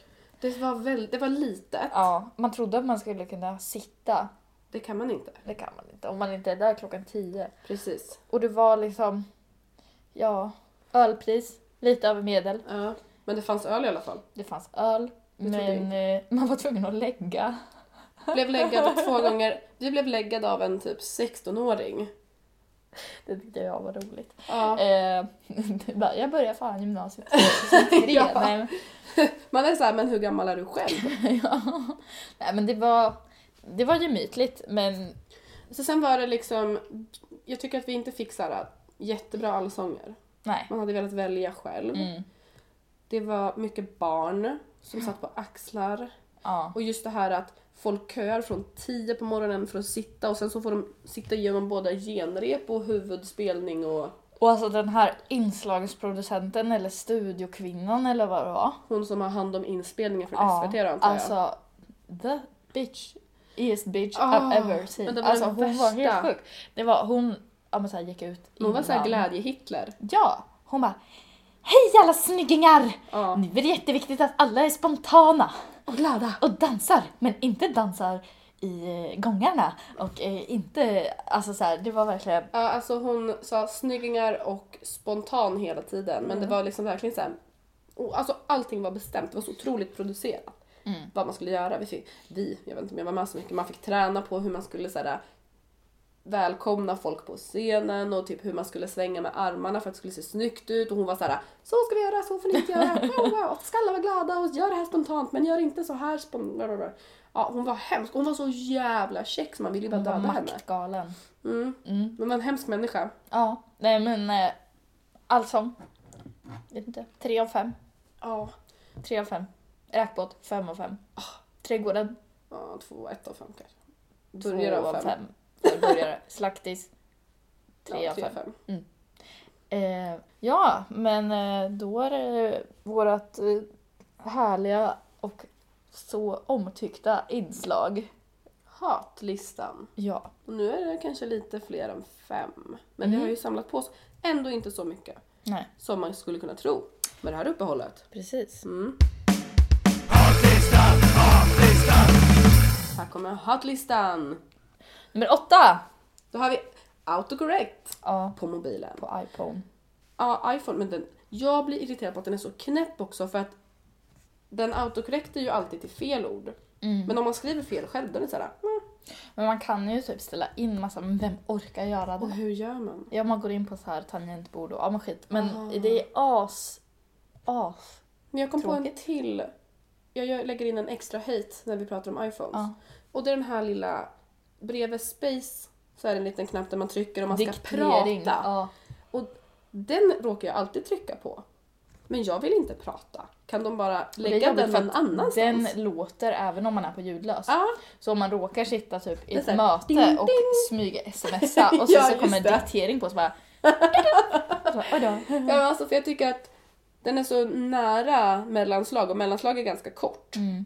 [SPEAKER 2] Det var, väl, det var litet.
[SPEAKER 1] Ja, man trodde att man skulle kunna sitta.
[SPEAKER 2] Det kan man inte.
[SPEAKER 1] Det kan man inte om man inte är där klockan 10.
[SPEAKER 2] Precis.
[SPEAKER 1] Och det var liksom, ja, ölpris, lite över medel.
[SPEAKER 2] Ja. Men det fanns öl i alla fall.
[SPEAKER 1] Det fanns öl,
[SPEAKER 2] Vi tog
[SPEAKER 1] men eh, man var tvungen att lägga.
[SPEAKER 2] blev läggad två gånger. Vi blev läggade av en typ 16-åring.
[SPEAKER 1] Det tyckte jag var roligt.
[SPEAKER 2] Ja.
[SPEAKER 1] Eh, bara, jag börjar fan gymnasiet 2003.
[SPEAKER 2] Ja.
[SPEAKER 1] Nej, men-
[SPEAKER 2] Man är såhär, men hur gammal är du själv?
[SPEAKER 1] ja. Nej men det var, det var gemytligt men
[SPEAKER 2] Så sen var det liksom, jag tycker att vi inte fick såhär jättebra allsånger.
[SPEAKER 1] nej.
[SPEAKER 2] Man hade velat välja själv.
[SPEAKER 1] Mm.
[SPEAKER 2] Det var mycket barn som satt på axlar.
[SPEAKER 1] Ja.
[SPEAKER 2] Och just det här att folk köar från 10 på morgonen för att sitta och sen så får de sitta igenom både genrep och huvudspelning och
[SPEAKER 1] Och alltså den här inslagsproducenten eller studiokvinnan eller vad det var.
[SPEAKER 2] hon som har hand om inspelningen från
[SPEAKER 1] Ja,
[SPEAKER 2] SVT då, antar jag.
[SPEAKER 1] alltså the bitch. East bitch
[SPEAKER 2] Ah,
[SPEAKER 1] I've ever
[SPEAKER 2] men det
[SPEAKER 1] seen.
[SPEAKER 2] var
[SPEAKER 1] Alltså
[SPEAKER 2] den
[SPEAKER 1] hon var helt
[SPEAKER 2] värsta.
[SPEAKER 1] sjuk. Det var hon, ja men så här gick ut
[SPEAKER 2] Hon var såhär
[SPEAKER 1] innan.
[SPEAKER 2] glädje-Hitler.
[SPEAKER 1] Ja, hon bara Hej alla snyggingar!
[SPEAKER 2] Ja.
[SPEAKER 1] Nu är det jätteviktigt att alla är spontana
[SPEAKER 2] Och glada!
[SPEAKER 1] och dansar, men inte dansar i eh, gångarna och eh, inte, alltså så här, det var verkligen
[SPEAKER 2] Ja, alltså hon sa snyggingar och spontan hela tiden. Men det
[SPEAKER 1] Mm.
[SPEAKER 2] var liksom verkligen såhär... och Alltså allting var bestämt. Det var så otroligt producerat.
[SPEAKER 1] Mm.
[SPEAKER 2] Vad man skulle göra. Vi, fick, vi, jag vet inte om jag var med så mycket, man fick träna på hur man skulle såhär, välkomna folk på scenen och typ hur man skulle svänga med armarna för att det skulle se snyggt ut. Och hon var såhär, så ska vi göra, så får ni inte göra. Wow, wow. Och Ska alla vara glada och gör det här spontant men gör inte så här spontant. Ja, hon var hemsk. Hon var så jävla käck så man ville ju bara
[SPEAKER 1] hon var
[SPEAKER 2] döda henne.
[SPEAKER 1] maktgalen.
[SPEAKER 2] Mm.
[SPEAKER 1] Mm.
[SPEAKER 2] Men en hemsk människa.
[SPEAKER 1] Ja, nej men eh, allsång. Vet inte, tre av fem.
[SPEAKER 2] Ja,
[SPEAKER 1] Tre av fem. Räkbåt, fem av fem. Ah, Trädgården,
[SPEAKER 2] ja två, ett av fem kanske.
[SPEAKER 1] två
[SPEAKER 2] Börjar
[SPEAKER 1] av fem. För börjare. Slaktis, tre
[SPEAKER 2] Ja,
[SPEAKER 1] av fem. Eh, ja, men eh, då är det vårt eh, härliga och så omtyckta inslag.
[SPEAKER 2] Hatlistan.
[SPEAKER 1] Ja.
[SPEAKER 2] Och nu är det kanske lite fler än fem. Men det
[SPEAKER 1] Mm.
[SPEAKER 2] har ju samlat på sig. Ändå inte så mycket
[SPEAKER 1] Nej,
[SPEAKER 2] som man skulle kunna tro med det här uppehållet.
[SPEAKER 1] precis.
[SPEAKER 2] Mm. Här kommer hatlistan.
[SPEAKER 1] Nummer åtta!
[SPEAKER 2] Då har vi autocorrect
[SPEAKER 1] Ja,
[SPEAKER 2] på mobilen.
[SPEAKER 1] på iPhone.
[SPEAKER 2] Ja, iPhone. Men den, jag blir irriterad på att den är så knäpp också för att den autocorrectar ju alltid till fel ord.
[SPEAKER 1] Mm.
[SPEAKER 2] Men om man skriver fel själv då är det såhär, mm.
[SPEAKER 1] Men man kan ju typ ställa in massa, men vem orkar göra
[SPEAKER 2] och
[SPEAKER 1] det?
[SPEAKER 2] hur gör man?
[SPEAKER 1] Ja, man går in på så här tangentbord och ja, men skit. Men
[SPEAKER 2] Aha.
[SPEAKER 1] det är as, as.
[SPEAKER 2] Men jag kom på en till. Jag gör- lägger in en extra hate när vi pratar om iPhones.
[SPEAKER 1] Ja.
[SPEAKER 2] Och det är den här lilla, bredvid space så är det en liten knapp där man trycker och man ska
[SPEAKER 1] Diktering.
[SPEAKER 2] prata.
[SPEAKER 1] Ja.
[SPEAKER 2] Och den råkar jag alltid trycka på. Men jag vill inte prata. Kan de bara
[SPEAKER 1] Det är
[SPEAKER 2] lägga
[SPEAKER 1] jobbigt
[SPEAKER 2] den
[SPEAKER 1] för
[SPEAKER 2] någon
[SPEAKER 1] att
[SPEAKER 2] annanstans?
[SPEAKER 1] Den låter även om man är på ljudlös.
[SPEAKER 2] Ja,
[SPEAKER 1] Så om man råkar sitta typ i
[SPEAKER 2] Det är
[SPEAKER 1] ett
[SPEAKER 2] så här,
[SPEAKER 1] möte
[SPEAKER 2] ding, ding.
[SPEAKER 1] och smyga smsa och sen
[SPEAKER 2] Ja,
[SPEAKER 1] så kommer en
[SPEAKER 2] just det.
[SPEAKER 1] diktering på så bara... Och så, "Oj då."
[SPEAKER 2] ja men alltså, för jag tycker att den är så nära mellanslag och mellanslag är ganska kort.
[SPEAKER 1] Mm.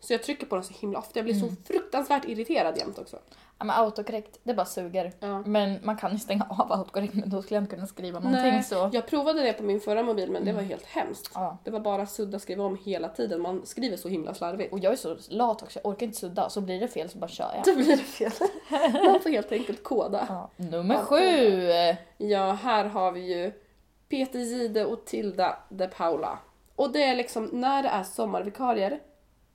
[SPEAKER 2] Så jag trycker på den så himla ofta. Jag blir så fruktansvärt irriterad jämt också.
[SPEAKER 1] Ja, men autocorrect, det bara suger.
[SPEAKER 2] Ja.
[SPEAKER 1] Men man kan ju stänga av autocorrect men då skulle jag inte kunna skriva någonting så...
[SPEAKER 2] Jag provade det på min förra mobil men det var helt hemskt.
[SPEAKER 1] Ja.
[SPEAKER 2] Det var bara sudda skriva om hela tiden. Man skriver så himla slarvigt.
[SPEAKER 1] Och jag är så lat också, jag orkar inte sudda. Så blir det fel så bara kör jag.
[SPEAKER 2] Då blir det fel. Man får helt enkelt koda.
[SPEAKER 1] Ja. Nummer
[SPEAKER 2] Ja,
[SPEAKER 1] sju!
[SPEAKER 2] Ja, här har vi ju Peter Gide och Tilda de Paula. Och det är liksom när det är sommarvikarier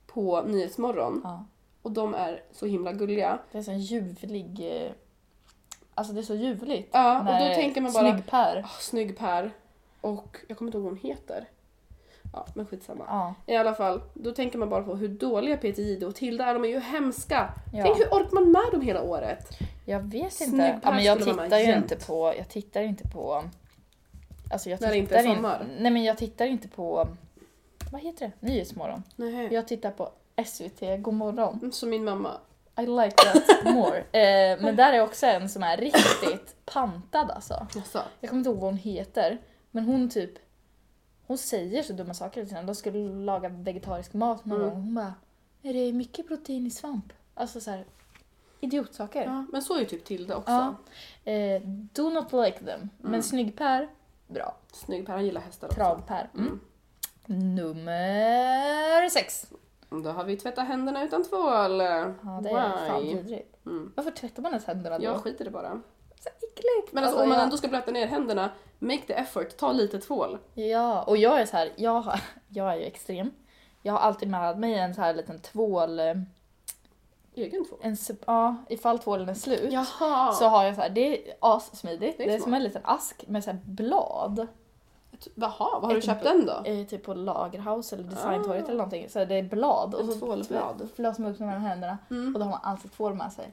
[SPEAKER 2] på Nyhetsmorgon
[SPEAKER 1] Ja.
[SPEAKER 2] och de är så himla gulliga.
[SPEAKER 1] Det är så en ljuvlig... eh, Alltså det är så ljuvligt.
[SPEAKER 2] Ja, och
[SPEAKER 1] När
[SPEAKER 2] då tänker man bara-
[SPEAKER 1] Snygg-Per.
[SPEAKER 2] Oh, snygg Per och jag kommer inte ihåg vad hon heter. Ja, men skitsamma.
[SPEAKER 1] Ja.
[SPEAKER 2] I alla fall, då tänker man bara på hur dåliga Peter Jihde och Tilda är. De är ju hemska.
[SPEAKER 1] Ja.
[SPEAKER 2] Tänk hur orkar man med dem hela året?
[SPEAKER 1] Jag vet
[SPEAKER 2] Snygg
[SPEAKER 1] inte. Ja,
[SPEAKER 2] plats
[SPEAKER 1] men jag
[SPEAKER 2] skulle vara
[SPEAKER 1] tittar ju
[SPEAKER 2] jämt.
[SPEAKER 1] inte på... Jag tittar inte på... Alltså jag
[SPEAKER 2] När
[SPEAKER 1] tittar
[SPEAKER 2] det inte är
[SPEAKER 1] in-
[SPEAKER 2] sommar.
[SPEAKER 1] nej men jag tittar inte på... Vad heter det? Nyhetsmorgon.
[SPEAKER 2] Nej.
[SPEAKER 1] Jag tittar på SVT Godmorgon.
[SPEAKER 2] Som min mamma.
[SPEAKER 1] I like that more. eh, men där är också en som är riktigt pantad alltså.
[SPEAKER 2] Jaså?
[SPEAKER 1] Jag kommer inte ihåg vad hon heter. Men hon typ... Hon säger så dumma saker till henne. De skulle laga vegetarisk mat någon
[SPEAKER 2] Mm.
[SPEAKER 1] gång. Hon bara... Är det mycket protein i svamp? Alltså så här... Idiotsaker.
[SPEAKER 2] Ja, men så är ju typ Tilda också.
[SPEAKER 1] Ja. Eh, do not like them. Men snygg-Per, bra.
[SPEAKER 2] Snygg Per, han gillar hästar Mm. också.
[SPEAKER 1] Trav-Per. Mm.
[SPEAKER 2] Mm.
[SPEAKER 1] Nummer sex.
[SPEAKER 2] Då har vi tvätta händerna utan tvål.
[SPEAKER 1] Ja, det är fan
[SPEAKER 2] Why?
[SPEAKER 1] vidrigt.
[SPEAKER 2] Mm.
[SPEAKER 1] Varför tvättar man ens händerna då?
[SPEAKER 2] Jag skiter i det bara.
[SPEAKER 1] Så äckligt.
[SPEAKER 2] Men alltså, om man
[SPEAKER 1] jag,
[SPEAKER 2] ändå ska blöta ner händerna, make the effort, ta lite tvål.
[SPEAKER 1] Ja, och jag är så här, jag, har- jag är ju extrem. Jag har alltid med mig en så här liten tvål... eh,
[SPEAKER 2] egen tvål?
[SPEAKER 1] En, sup- ja, ifall tvålen är slut
[SPEAKER 2] Jaha!
[SPEAKER 1] så har jag så här, det är assmidigt.
[SPEAKER 2] Det
[SPEAKER 1] Det
[SPEAKER 2] är
[SPEAKER 1] är, som
[SPEAKER 2] smart.
[SPEAKER 1] en liten ask med så här blad.
[SPEAKER 2] Jaha, vad har du
[SPEAKER 1] Ett
[SPEAKER 2] köpt
[SPEAKER 1] bo-
[SPEAKER 2] den då?
[SPEAKER 1] Eh, typ på Lagerhaus eller Designtorget
[SPEAKER 2] Ah.
[SPEAKER 1] eller någonting. Så det är blad och
[SPEAKER 2] Ett
[SPEAKER 1] så
[SPEAKER 2] tvålblad.
[SPEAKER 1] flösar man upp med händerna
[SPEAKER 2] Mm.
[SPEAKER 1] och då har man alltid tvål med sig.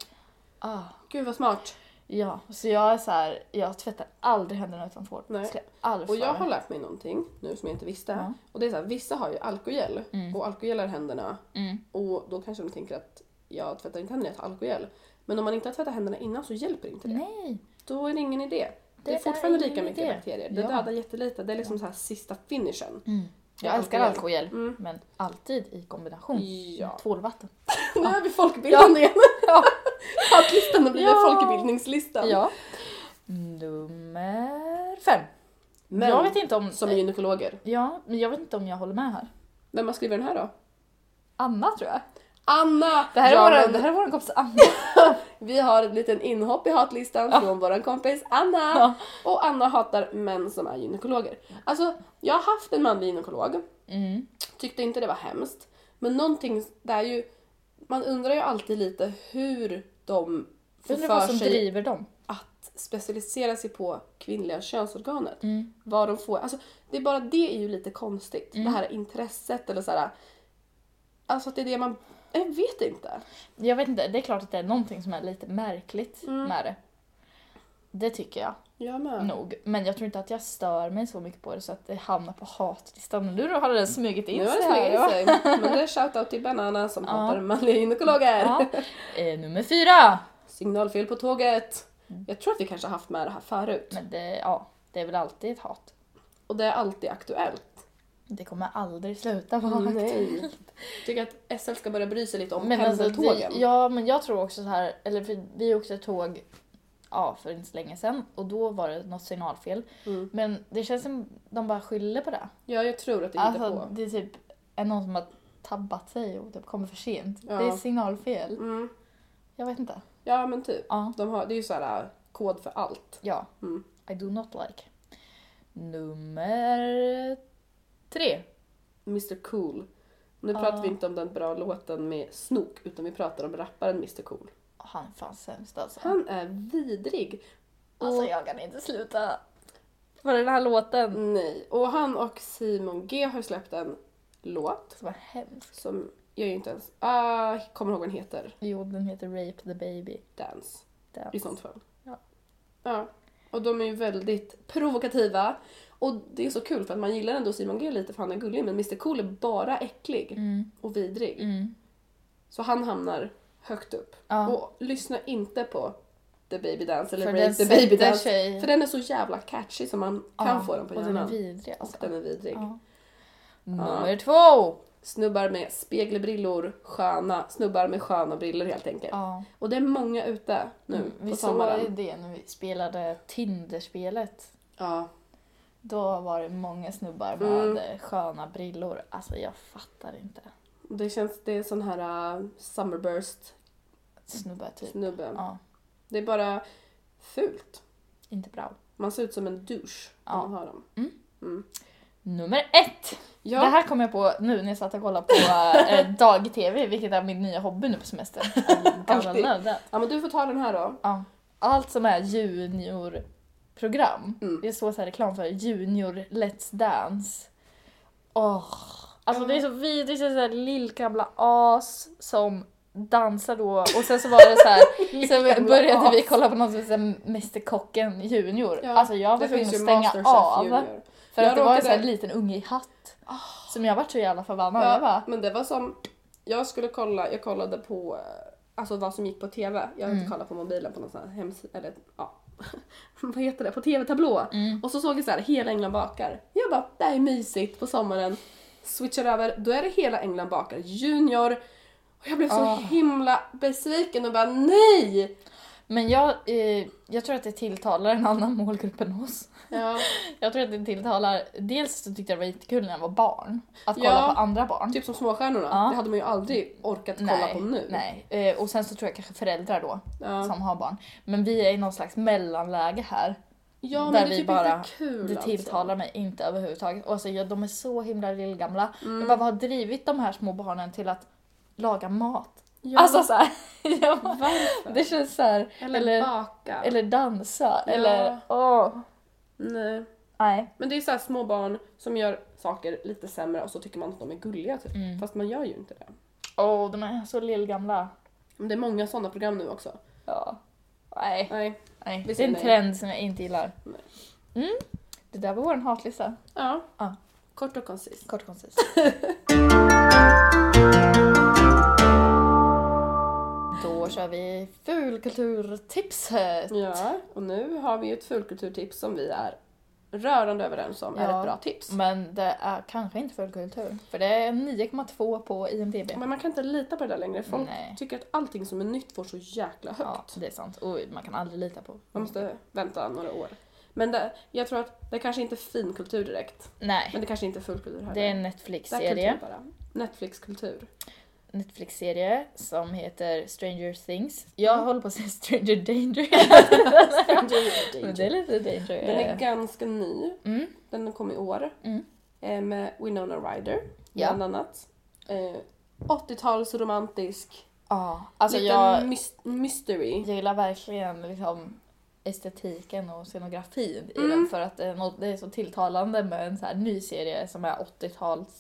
[SPEAKER 1] Ah.
[SPEAKER 2] Gud vad smart.
[SPEAKER 1] Ja, så jag är så här, jag tvättar aldrig händerna utan tvål.
[SPEAKER 2] Nej.
[SPEAKER 1] Skulle jag aldrig
[SPEAKER 2] Och
[SPEAKER 1] få
[SPEAKER 2] jag
[SPEAKER 1] göra.
[SPEAKER 2] har lärt mig någonting nu som jag inte visste.
[SPEAKER 1] Ja.
[SPEAKER 2] Och det är så här, vissa har ju alkogel
[SPEAKER 1] Mm.
[SPEAKER 2] och alkogelar händerna
[SPEAKER 1] Mm.
[SPEAKER 2] och då kanske de tänker att jag tvättar inte händerna, jag tar alkogel. Men om man inte har tvättat händerna innan så hjälper inte det.
[SPEAKER 1] Nej!
[SPEAKER 2] Då är det ingen idé. Det,
[SPEAKER 1] Det
[SPEAKER 2] är
[SPEAKER 1] är
[SPEAKER 2] fortfarande
[SPEAKER 1] ingen
[SPEAKER 2] lika mycket
[SPEAKER 1] idé.
[SPEAKER 2] bakterier. Det
[SPEAKER 1] Ja.
[SPEAKER 2] dödar jättelite. Det är liksom så här sista finishen.
[SPEAKER 1] Jag
[SPEAKER 2] Ja,
[SPEAKER 1] älskar
[SPEAKER 2] alkohol.
[SPEAKER 1] alkohol,
[SPEAKER 2] Mm.
[SPEAKER 1] men alltid i kombination
[SPEAKER 2] Ja.
[SPEAKER 1] med tvålvatten.
[SPEAKER 2] Nu är vi folkbildande igen.
[SPEAKER 1] Ja.
[SPEAKER 2] Poddlistan har blivit
[SPEAKER 1] Ja.
[SPEAKER 2] folkbildningslistan.
[SPEAKER 1] Ja. Nummer fem.
[SPEAKER 2] Men
[SPEAKER 1] jag vet inte om...
[SPEAKER 2] som är gynekologer.
[SPEAKER 1] Ja, men jag vet inte om jag håller med här.
[SPEAKER 2] Vem har skrivit den här då?
[SPEAKER 1] Anna tror jag.
[SPEAKER 2] Anna!
[SPEAKER 1] Det här är,
[SPEAKER 2] Ja,
[SPEAKER 1] våra,
[SPEAKER 2] men
[SPEAKER 1] det här är vår kompis Anna.
[SPEAKER 2] Vi har ett litet inhopp i hatlistan från vår kompis Anna.
[SPEAKER 1] Ja.
[SPEAKER 2] Och Anna hatar män som är gynekologer. Alltså, jag har haft en manlig gynekolog.
[SPEAKER 1] Mm.
[SPEAKER 2] Tyckte inte det var hemskt. Men någonting, det är ju... Man undrar ju alltid lite hur de får
[SPEAKER 1] Undrar vad
[SPEAKER 2] för
[SPEAKER 1] som
[SPEAKER 2] sig
[SPEAKER 1] driver dem.
[SPEAKER 2] att specialisera sig på kvinnliga könsorganet.
[SPEAKER 1] Mm.
[SPEAKER 2] Vad de får. Alltså, det är bara det är ju lite konstigt. Det här intresset eller så här. Alltså att det är det man... Jag vet inte.
[SPEAKER 1] Jag vet inte, det är klart att det är någonting som är lite märkligt
[SPEAKER 2] Mm.
[SPEAKER 1] med det. Det tycker jag
[SPEAKER 2] Jag med.
[SPEAKER 1] nog. Men jag tror inte att jag stör mig så mycket på det så att det hamnar på hatlistan. Men Nu har den smugit in
[SPEAKER 2] Mm. Nu har det
[SPEAKER 1] sig här,
[SPEAKER 2] smugit in
[SPEAKER 1] ja.
[SPEAKER 2] sig. Men det är shoutout till Banana som hatar manliga gynekologer.
[SPEAKER 1] Ja. Eh, nummer fyra!
[SPEAKER 2] Signalfel på tåget. Jag tror att vi kanske har haft med det här förut.
[SPEAKER 1] Mm. Men det, ja, det är väl alltid ett hat.
[SPEAKER 2] Och det är alltid aktuellt.
[SPEAKER 1] Det kommer aldrig sluta vara aktuellt.
[SPEAKER 2] Mm, Nej. Jag tycker att SL ska börja bry sig lite om
[SPEAKER 1] Men alltså, vi,
[SPEAKER 2] pendeltågen.
[SPEAKER 1] ja, men jag tror också så här, eller för vi åkte tåg ja, för inte så länge sedan och då var det något signalfel.
[SPEAKER 2] Mm.
[SPEAKER 1] Men det känns som de bara skyller på det.
[SPEAKER 2] Ja, jag tror att det hittar
[SPEAKER 1] Alltså,
[SPEAKER 2] på.
[SPEAKER 1] det är typ är någon som har tabbat sig och typ kommer för sent.
[SPEAKER 2] Ja.
[SPEAKER 1] Det är signalfel.
[SPEAKER 2] Mm.
[SPEAKER 1] Jag vet inte.
[SPEAKER 2] Ja, men typ.
[SPEAKER 1] Ja.
[SPEAKER 2] De har, det är ju så här äh, kod för allt.
[SPEAKER 1] ja.
[SPEAKER 2] Mm.
[SPEAKER 1] I do not like. Nummer tre.
[SPEAKER 2] Mr Cool. Nu
[SPEAKER 1] Ja.
[SPEAKER 2] pratar vi inte om den bra låten med Snook utan vi pratar om rapparen Mr Cool.
[SPEAKER 1] Han är fan sämst alltså.
[SPEAKER 2] Han är vidrig.
[SPEAKER 1] Alltså jag kan inte sluta. För den här låten.
[SPEAKER 2] Nej, och han och Simon G har släppt en låt
[SPEAKER 1] Som är hemsk.
[SPEAKER 2] som jag ju inte ens ah, kommer ihåg vad den heter.
[SPEAKER 1] Jo, den heter Rape the Baby.
[SPEAKER 2] Dance
[SPEAKER 1] Den.
[SPEAKER 2] i sånt fall.
[SPEAKER 1] Ja.
[SPEAKER 2] ja. Och de är ju väldigt provokativa. Och det är så kul för att man gillar ändå Simon G lite för han är gullig men Mr Cool är bara äcklig
[SPEAKER 1] Mm.
[SPEAKER 2] och vidrig.
[SPEAKER 1] Mm.
[SPEAKER 2] Så han hamnar högt upp.
[SPEAKER 1] Ja.
[SPEAKER 2] Och lyssna inte på The Baby Dance eller
[SPEAKER 1] För
[SPEAKER 2] Rape
[SPEAKER 1] den
[SPEAKER 2] the Baby
[SPEAKER 1] sätter
[SPEAKER 2] Dance.
[SPEAKER 1] sig-
[SPEAKER 2] För den är så jävla catchy som man kan
[SPEAKER 1] Ja,
[SPEAKER 2] få den på
[SPEAKER 1] Och den är
[SPEAKER 2] hjärnan.
[SPEAKER 1] vidrig
[SPEAKER 2] Och
[SPEAKER 1] alltså.
[SPEAKER 2] den är vidrig.
[SPEAKER 1] Ja. Nummer två!
[SPEAKER 2] Snubbar med spegelbrillor, sköna, snubbar med sköna brillor helt enkelt.
[SPEAKER 1] Ja. Mm,
[SPEAKER 2] Och det är många ute nu
[SPEAKER 1] Vi
[SPEAKER 2] på
[SPEAKER 1] såg
[SPEAKER 2] sommaren.
[SPEAKER 1] ju det när vi spelade Tinderspelet.
[SPEAKER 2] Ja.
[SPEAKER 1] Då var det många snubbar med
[SPEAKER 2] Mm.
[SPEAKER 1] eh, sköna brillor. Alltså jag fattar inte.
[SPEAKER 2] Det känns, det är sån här uh, summerburst
[SPEAKER 1] Snubbar typ.
[SPEAKER 2] snubbe.
[SPEAKER 1] Ja,
[SPEAKER 2] Det är bara fult.
[SPEAKER 1] inte bra.
[SPEAKER 2] Man ser ut som en douche när
[SPEAKER 1] Ja.
[SPEAKER 2] man har dem.
[SPEAKER 1] Nummer ett!
[SPEAKER 2] Ja,
[SPEAKER 1] Det här kom jag på nu när jag satt och kollade på eh, dag-tv, vilket är min nya hobby nu på semestern. Jag gotta
[SPEAKER 2] Alltid.
[SPEAKER 1] love that.
[SPEAKER 2] ja men du får ta den här då.
[SPEAKER 1] Ja. Allt som är juniorprogram.
[SPEAKER 2] Mm.
[SPEAKER 1] Det står så här reklam för Junior Let's Dance. Åh! Alltså det är så vidrigt, det är så här lillgamla as som dansar då och sen så var det så här. sen
[SPEAKER 2] Lillgamla
[SPEAKER 1] började vi
[SPEAKER 2] as.
[SPEAKER 1] kolla på någon som hette Mästerkocken Junior.
[SPEAKER 2] Ja,
[SPEAKER 1] Alltså jag var
[SPEAKER 2] det
[SPEAKER 1] tvungen
[SPEAKER 2] finns
[SPEAKER 1] att
[SPEAKER 2] ju
[SPEAKER 1] stänga
[SPEAKER 2] Masterchef
[SPEAKER 1] av.
[SPEAKER 2] Junior.
[SPEAKER 1] För
[SPEAKER 2] Jag
[SPEAKER 1] att det var en
[SPEAKER 2] råkade-
[SPEAKER 1] sån här liten unge i hatt. Som jag vart så jävla förbannad. Jag
[SPEAKER 2] Ja,
[SPEAKER 1] bara,
[SPEAKER 2] men det var som, jag skulle kolla, jag kollade på eh, alltså vad som gick på TV. Jag har
[SPEAKER 1] Mm.
[SPEAKER 2] inte kollat på mobilen på någon sån här hemsida, eller ja. vad heter det? På TV-tablå.
[SPEAKER 1] Mm.
[SPEAKER 2] Och så såg jag så här, hela England bakar. Jag bara, det här är mysigt på sommaren. Switchar över, då är det hela England bakar junior. Och jag blev så
[SPEAKER 1] Ah.
[SPEAKER 2] himla besviken och bara nej!
[SPEAKER 1] men jag, eh, jag tror att det tilltalar en annan målgrupp än oss.
[SPEAKER 2] Ja,
[SPEAKER 1] Jag tror att det tilltalar, dels så tyckte jag det var jättekul när jag var barn. Att kolla
[SPEAKER 2] Ja.
[SPEAKER 1] på andra barn.
[SPEAKER 2] typ som Småstjärnorna,
[SPEAKER 1] Ja.
[SPEAKER 2] det hade man ju aldrig orkat kolla
[SPEAKER 1] Ah. nej,
[SPEAKER 2] på nu.
[SPEAKER 1] Nej. Eh, och sen så tror jag kanske föräldrar då
[SPEAKER 2] Ja.
[SPEAKER 1] som har barn. Men vi är i någon slags mellanläge här.
[SPEAKER 2] ja, men
[SPEAKER 1] där
[SPEAKER 2] det är
[SPEAKER 1] vi
[SPEAKER 2] typ
[SPEAKER 1] bara-
[SPEAKER 2] inte kul alltså.
[SPEAKER 1] Det tilltalar mig inte överhuvudtaget. Och alltså, jag, de
[SPEAKER 2] Mm.
[SPEAKER 1] är så himla lillgamla. Jag bara, vad har drivit de här små barnen till att laga mat? Ja. Alltså såhär, ja,
[SPEAKER 2] Varför?
[SPEAKER 1] det känns såhär,
[SPEAKER 2] eller,
[SPEAKER 1] eller-
[SPEAKER 2] baka.
[SPEAKER 1] eller dansa,
[SPEAKER 2] Ja.
[SPEAKER 1] eller åh.
[SPEAKER 2] Nej.
[SPEAKER 1] Nej.
[SPEAKER 2] Men det är så här små barn som gör saker lite sämre och så tycker man att de är gulliga typ.
[SPEAKER 1] Mm.
[SPEAKER 2] Fast man gör ju inte det.
[SPEAKER 1] Åh, de är så lillgamla.
[SPEAKER 2] Men det är många sådana program nu också.
[SPEAKER 1] Ja. Nej.
[SPEAKER 2] Nej.
[SPEAKER 1] Nej.
[SPEAKER 2] Vi
[SPEAKER 1] Det är
[SPEAKER 2] säger
[SPEAKER 1] en
[SPEAKER 2] nej.
[SPEAKER 1] trend som jag inte gillar.
[SPEAKER 2] Nej.
[SPEAKER 1] Mm. Det där var vår hatlista.
[SPEAKER 2] Ja.
[SPEAKER 1] Ja.
[SPEAKER 2] Kort och koncist.
[SPEAKER 1] Kort och koncis. Då kör vi fulkulturtipset.
[SPEAKER 2] Ja. Och nu har vi ju ett fulkulturtips som vi är rörande överens om är
[SPEAKER 1] Ja. Mm.
[SPEAKER 2] ett bra tips.
[SPEAKER 1] Men det är kanske inte fullkultur. För det är 9,2 på IMDB.
[SPEAKER 2] Men man kan inte lita på det där längre. Folk
[SPEAKER 1] Nej.
[SPEAKER 2] tycker att allting som är nytt får så jäkla högt.
[SPEAKER 1] Ja, det är sant. Och man kan aldrig lita på.
[SPEAKER 2] Man måste vänta några år. Men det, jag tror att det kanske inte är finkultur direkt. Men
[SPEAKER 1] Nej,
[SPEAKER 2] det kanske inte är fullkultur heller.
[SPEAKER 1] det är en
[SPEAKER 2] Det är
[SPEAKER 1] Netflix-serie.
[SPEAKER 2] kultur bara. Netflix-kultur.
[SPEAKER 1] Netflix-serie som heter Stranger Things. Jag
[SPEAKER 2] Mm.
[SPEAKER 1] håller på att säga Stranger Danger. Men det är lite danger.
[SPEAKER 2] Den är ganska ny.
[SPEAKER 1] Mm.
[SPEAKER 2] Den kom i år.
[SPEAKER 1] Mm.
[SPEAKER 2] Eh, Med Winona Ryder
[SPEAKER 1] Ja.
[SPEAKER 2] bland annat. Eh, 80-talsromantisk.
[SPEAKER 1] Ja, alltså
[SPEAKER 2] liten
[SPEAKER 1] jag,
[SPEAKER 2] mys- mystery.
[SPEAKER 1] jag gillar verkligen liksom estetiken och scenografin i
[SPEAKER 2] Mm.
[SPEAKER 1] den för att det är, något, det är så tilltalande med en så här ny serie som är 80-tals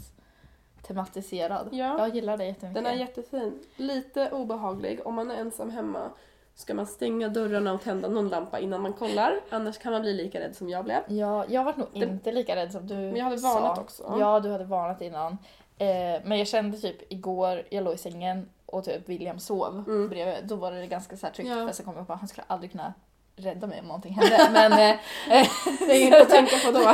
[SPEAKER 1] tematiserad.
[SPEAKER 2] Ja.
[SPEAKER 1] Jag gillar det jättemycket.
[SPEAKER 2] Den är jättefin. Lite obehaglig. Om man är ensam hemma ska man stänga dörrarna och tända någon lampa innan man kollar. Annars kan man bli lika rädd som jag blev.
[SPEAKER 1] Ja, jag var nog
[SPEAKER 2] Det-
[SPEAKER 1] inte lika rädd som du
[SPEAKER 2] Men jag hade varnat
[SPEAKER 1] sa.
[SPEAKER 2] också.
[SPEAKER 1] Ja, du hade varnat innan. Eh, men jag kände typ igår, jag låg i sängen och typ William sov
[SPEAKER 2] Mm.
[SPEAKER 1] bredvid. Då var det ganska så här tryggt.
[SPEAKER 2] Ja.
[SPEAKER 1] För sen kom jag på att han skulle aldrig kunna rädda mig om någonting hände. Men, eh,
[SPEAKER 2] Det är inget att tänka på då.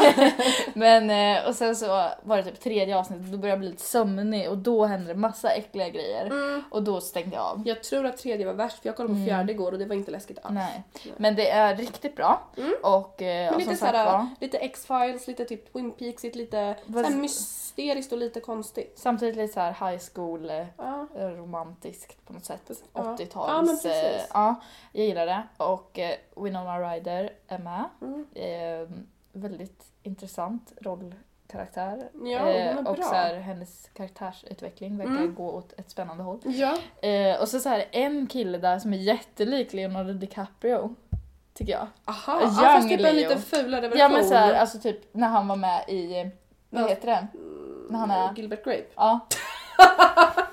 [SPEAKER 1] men eh, och sen så var det typ tredje avsnittet då började jag bli lite sömnig och då hände det massa äckliga grejer.
[SPEAKER 2] Mm.
[SPEAKER 1] Och då stängde jag av.
[SPEAKER 2] Jag tror att tredje var värst för jag kollade på
[SPEAKER 1] Mm.
[SPEAKER 2] fjärde igår och det var inte läskigt alls.
[SPEAKER 1] Nej.
[SPEAKER 2] Nej.
[SPEAKER 1] Men det är riktigt bra.
[SPEAKER 2] Mm.
[SPEAKER 1] Och, eh,
[SPEAKER 2] Men
[SPEAKER 1] och
[SPEAKER 2] lite
[SPEAKER 1] som
[SPEAKER 2] så
[SPEAKER 1] sagt
[SPEAKER 2] här,
[SPEAKER 1] var,
[SPEAKER 2] lite X-Files, lite typ Twin Peaks, lite så
[SPEAKER 1] Vad-
[SPEAKER 2] här mysteriskt och lite konstigt.
[SPEAKER 1] samtidigt lite så här high school eh,
[SPEAKER 2] Ja.
[SPEAKER 1] romantiskt på något sätt.
[SPEAKER 2] Precis. Ja.
[SPEAKER 1] 80-tals...
[SPEAKER 2] Ja, men precis.
[SPEAKER 1] eh, ja, jag gillar det. Och eh, Winona Ryder är med.
[SPEAKER 2] Mm.
[SPEAKER 1] Eh, väldigt intressant rollkaraktär.
[SPEAKER 2] Ja, och hon är
[SPEAKER 1] Eh, och
[SPEAKER 2] bra.
[SPEAKER 1] så här, hennes karaktärsutveckling verkar
[SPEAKER 2] Mm.
[SPEAKER 1] gå åt ett spännande håll.
[SPEAKER 2] Ja.
[SPEAKER 1] Eh, och så, så här, en kille där som är jättelik Leonardo DiCaprio. Tycker jag.
[SPEAKER 2] Aha,
[SPEAKER 1] Young
[SPEAKER 2] ja, fast typ en
[SPEAKER 1] Leo.
[SPEAKER 2] lite fulare version.
[SPEAKER 1] Ja men så här, alltså typ när han var med i, eh, vad
[SPEAKER 2] Ja.
[SPEAKER 1] heter den?
[SPEAKER 2] Mm,
[SPEAKER 1] när han är-
[SPEAKER 2] Gilbert Grape.
[SPEAKER 1] Ja.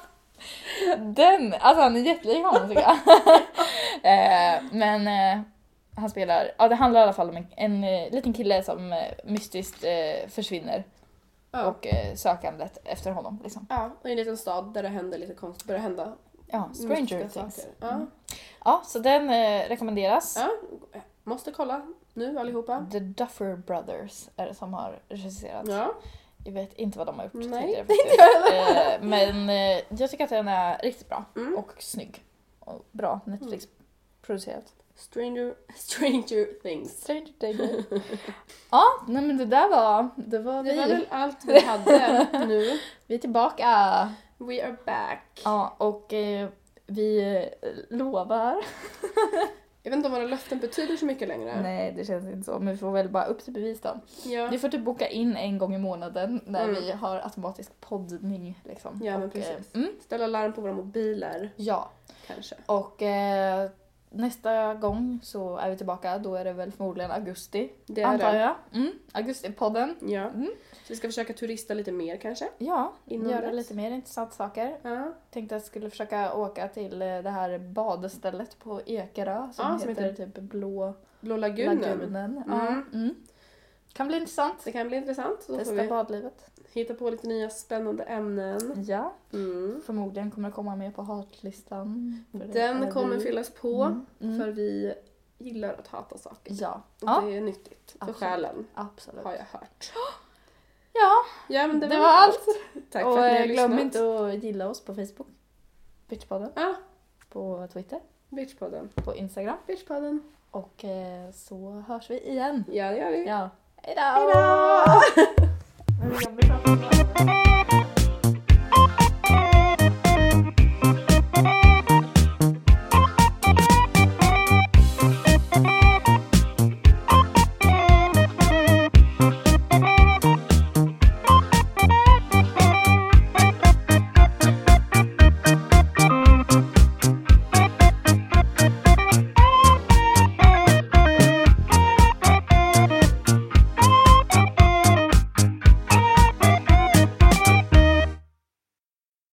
[SPEAKER 1] Den! Alltså han är jättelik honom tycker jag. eh, men eh, han spelar, ja det handlar i alla fall om en, en eh, liten kille som eh, mystiskt eh, försvinner
[SPEAKER 2] Ja.
[SPEAKER 1] och eh, sökandet efter honom liksom.
[SPEAKER 2] ja, och i en liten stad där det händer lite konst, börjar hända
[SPEAKER 1] Ja,
[SPEAKER 2] mystiska
[SPEAKER 1] Stranger Things. Mm.
[SPEAKER 2] saker. Ja.
[SPEAKER 1] Ja, så den eh, rekommenderas.
[SPEAKER 2] Ja. Måste kolla nu allihopa.
[SPEAKER 1] The Duffer Brothers är det som har regisserat.
[SPEAKER 2] Ja.
[SPEAKER 1] Jag vet inte vad de har gjort
[SPEAKER 2] Nej,
[SPEAKER 1] tidigare faktiskt. Eh, Men eh, jag tycker att den är riktigt bra
[SPEAKER 2] Mm.
[SPEAKER 1] och snygg. Och bra Netflix-producerat.
[SPEAKER 2] Stranger, Stranger Things.
[SPEAKER 1] Stranger Danger. ja, nej men det där var, det var
[SPEAKER 2] Det
[SPEAKER 1] vi.
[SPEAKER 2] var väl allt vi hade nu.
[SPEAKER 1] Vi är tillbaka.
[SPEAKER 2] We are back.
[SPEAKER 1] Ja, och eh, vi eh, lovar.
[SPEAKER 2] Jag vet inte om våra löften betyder så mycket längre.
[SPEAKER 1] Nej, det känns inte så, men vi får väl bara upp till bevis då.
[SPEAKER 2] Ja.
[SPEAKER 1] Vi får typ boka in en gång i månaden när
[SPEAKER 2] Mm.
[SPEAKER 1] vi har automatisk poddning. Liksom.
[SPEAKER 2] Ja, men
[SPEAKER 1] och, eh,
[SPEAKER 2] precis.
[SPEAKER 1] mm,
[SPEAKER 2] Ställa larm på våra mobiler
[SPEAKER 1] ja,
[SPEAKER 2] kanske.
[SPEAKER 1] och eh, nästa gång så är vi tillbaka. Då är det väl förmodligen augusti,
[SPEAKER 2] Det är
[SPEAKER 1] antar
[SPEAKER 2] det.
[SPEAKER 1] jag. Mm, Augustipodden.
[SPEAKER 2] Ja.
[SPEAKER 1] Mm.
[SPEAKER 2] Så vi ska försöka turista lite mer kanske.
[SPEAKER 1] Ja,
[SPEAKER 2] Inom
[SPEAKER 1] göra
[SPEAKER 2] dess.
[SPEAKER 1] lite mer intressanta saker.
[SPEAKER 2] Ja.
[SPEAKER 1] Tänkte jag skulle försöka åka till eh, det här badstället på Ekerö som,
[SPEAKER 2] Ja,
[SPEAKER 1] heter,
[SPEAKER 2] som
[SPEAKER 1] typ Blå
[SPEAKER 2] Blå lagunen.
[SPEAKER 1] lagunen. Ja,
[SPEAKER 2] Mm.
[SPEAKER 1] mm. Kan bli intressant.
[SPEAKER 2] Det kan bli intressant. Då får
[SPEAKER 1] Testa
[SPEAKER 2] vi
[SPEAKER 1] badlivet.
[SPEAKER 2] hitta på lite nya spännande ämnen.
[SPEAKER 1] Ja,
[SPEAKER 2] Mm.
[SPEAKER 1] förmodligen kommer det komma med på hatlistan. För det är
[SPEAKER 2] Den kommer
[SPEAKER 1] vi.
[SPEAKER 2] fyllas på
[SPEAKER 1] Mm, mm.
[SPEAKER 2] för vi gillar att hata saker.
[SPEAKER 1] Ja.
[SPEAKER 2] Och
[SPEAKER 1] ja,
[SPEAKER 2] det är nyttigt för
[SPEAKER 1] Absolut.
[SPEAKER 2] själen
[SPEAKER 1] absolut.
[SPEAKER 2] har jag hört.
[SPEAKER 1] Ja,
[SPEAKER 2] Ja, men det,
[SPEAKER 1] Det var allt.
[SPEAKER 2] Tack
[SPEAKER 1] och
[SPEAKER 2] för att ni
[SPEAKER 1] eh,
[SPEAKER 2] har
[SPEAKER 1] glöm
[SPEAKER 2] lyssnat.
[SPEAKER 1] inte att gilla oss på Facebook. Bitchpodden.
[SPEAKER 2] Ja,
[SPEAKER 1] På Twitter.
[SPEAKER 2] bitchpodden.
[SPEAKER 1] På Instagram.
[SPEAKER 2] Bitchpodden.
[SPEAKER 1] Och eh, så hörs vi igen.
[SPEAKER 2] Ja, det gör vi.
[SPEAKER 1] Ja. Hejdå!
[SPEAKER 2] Hejdå!
[SPEAKER 1] Hejdå!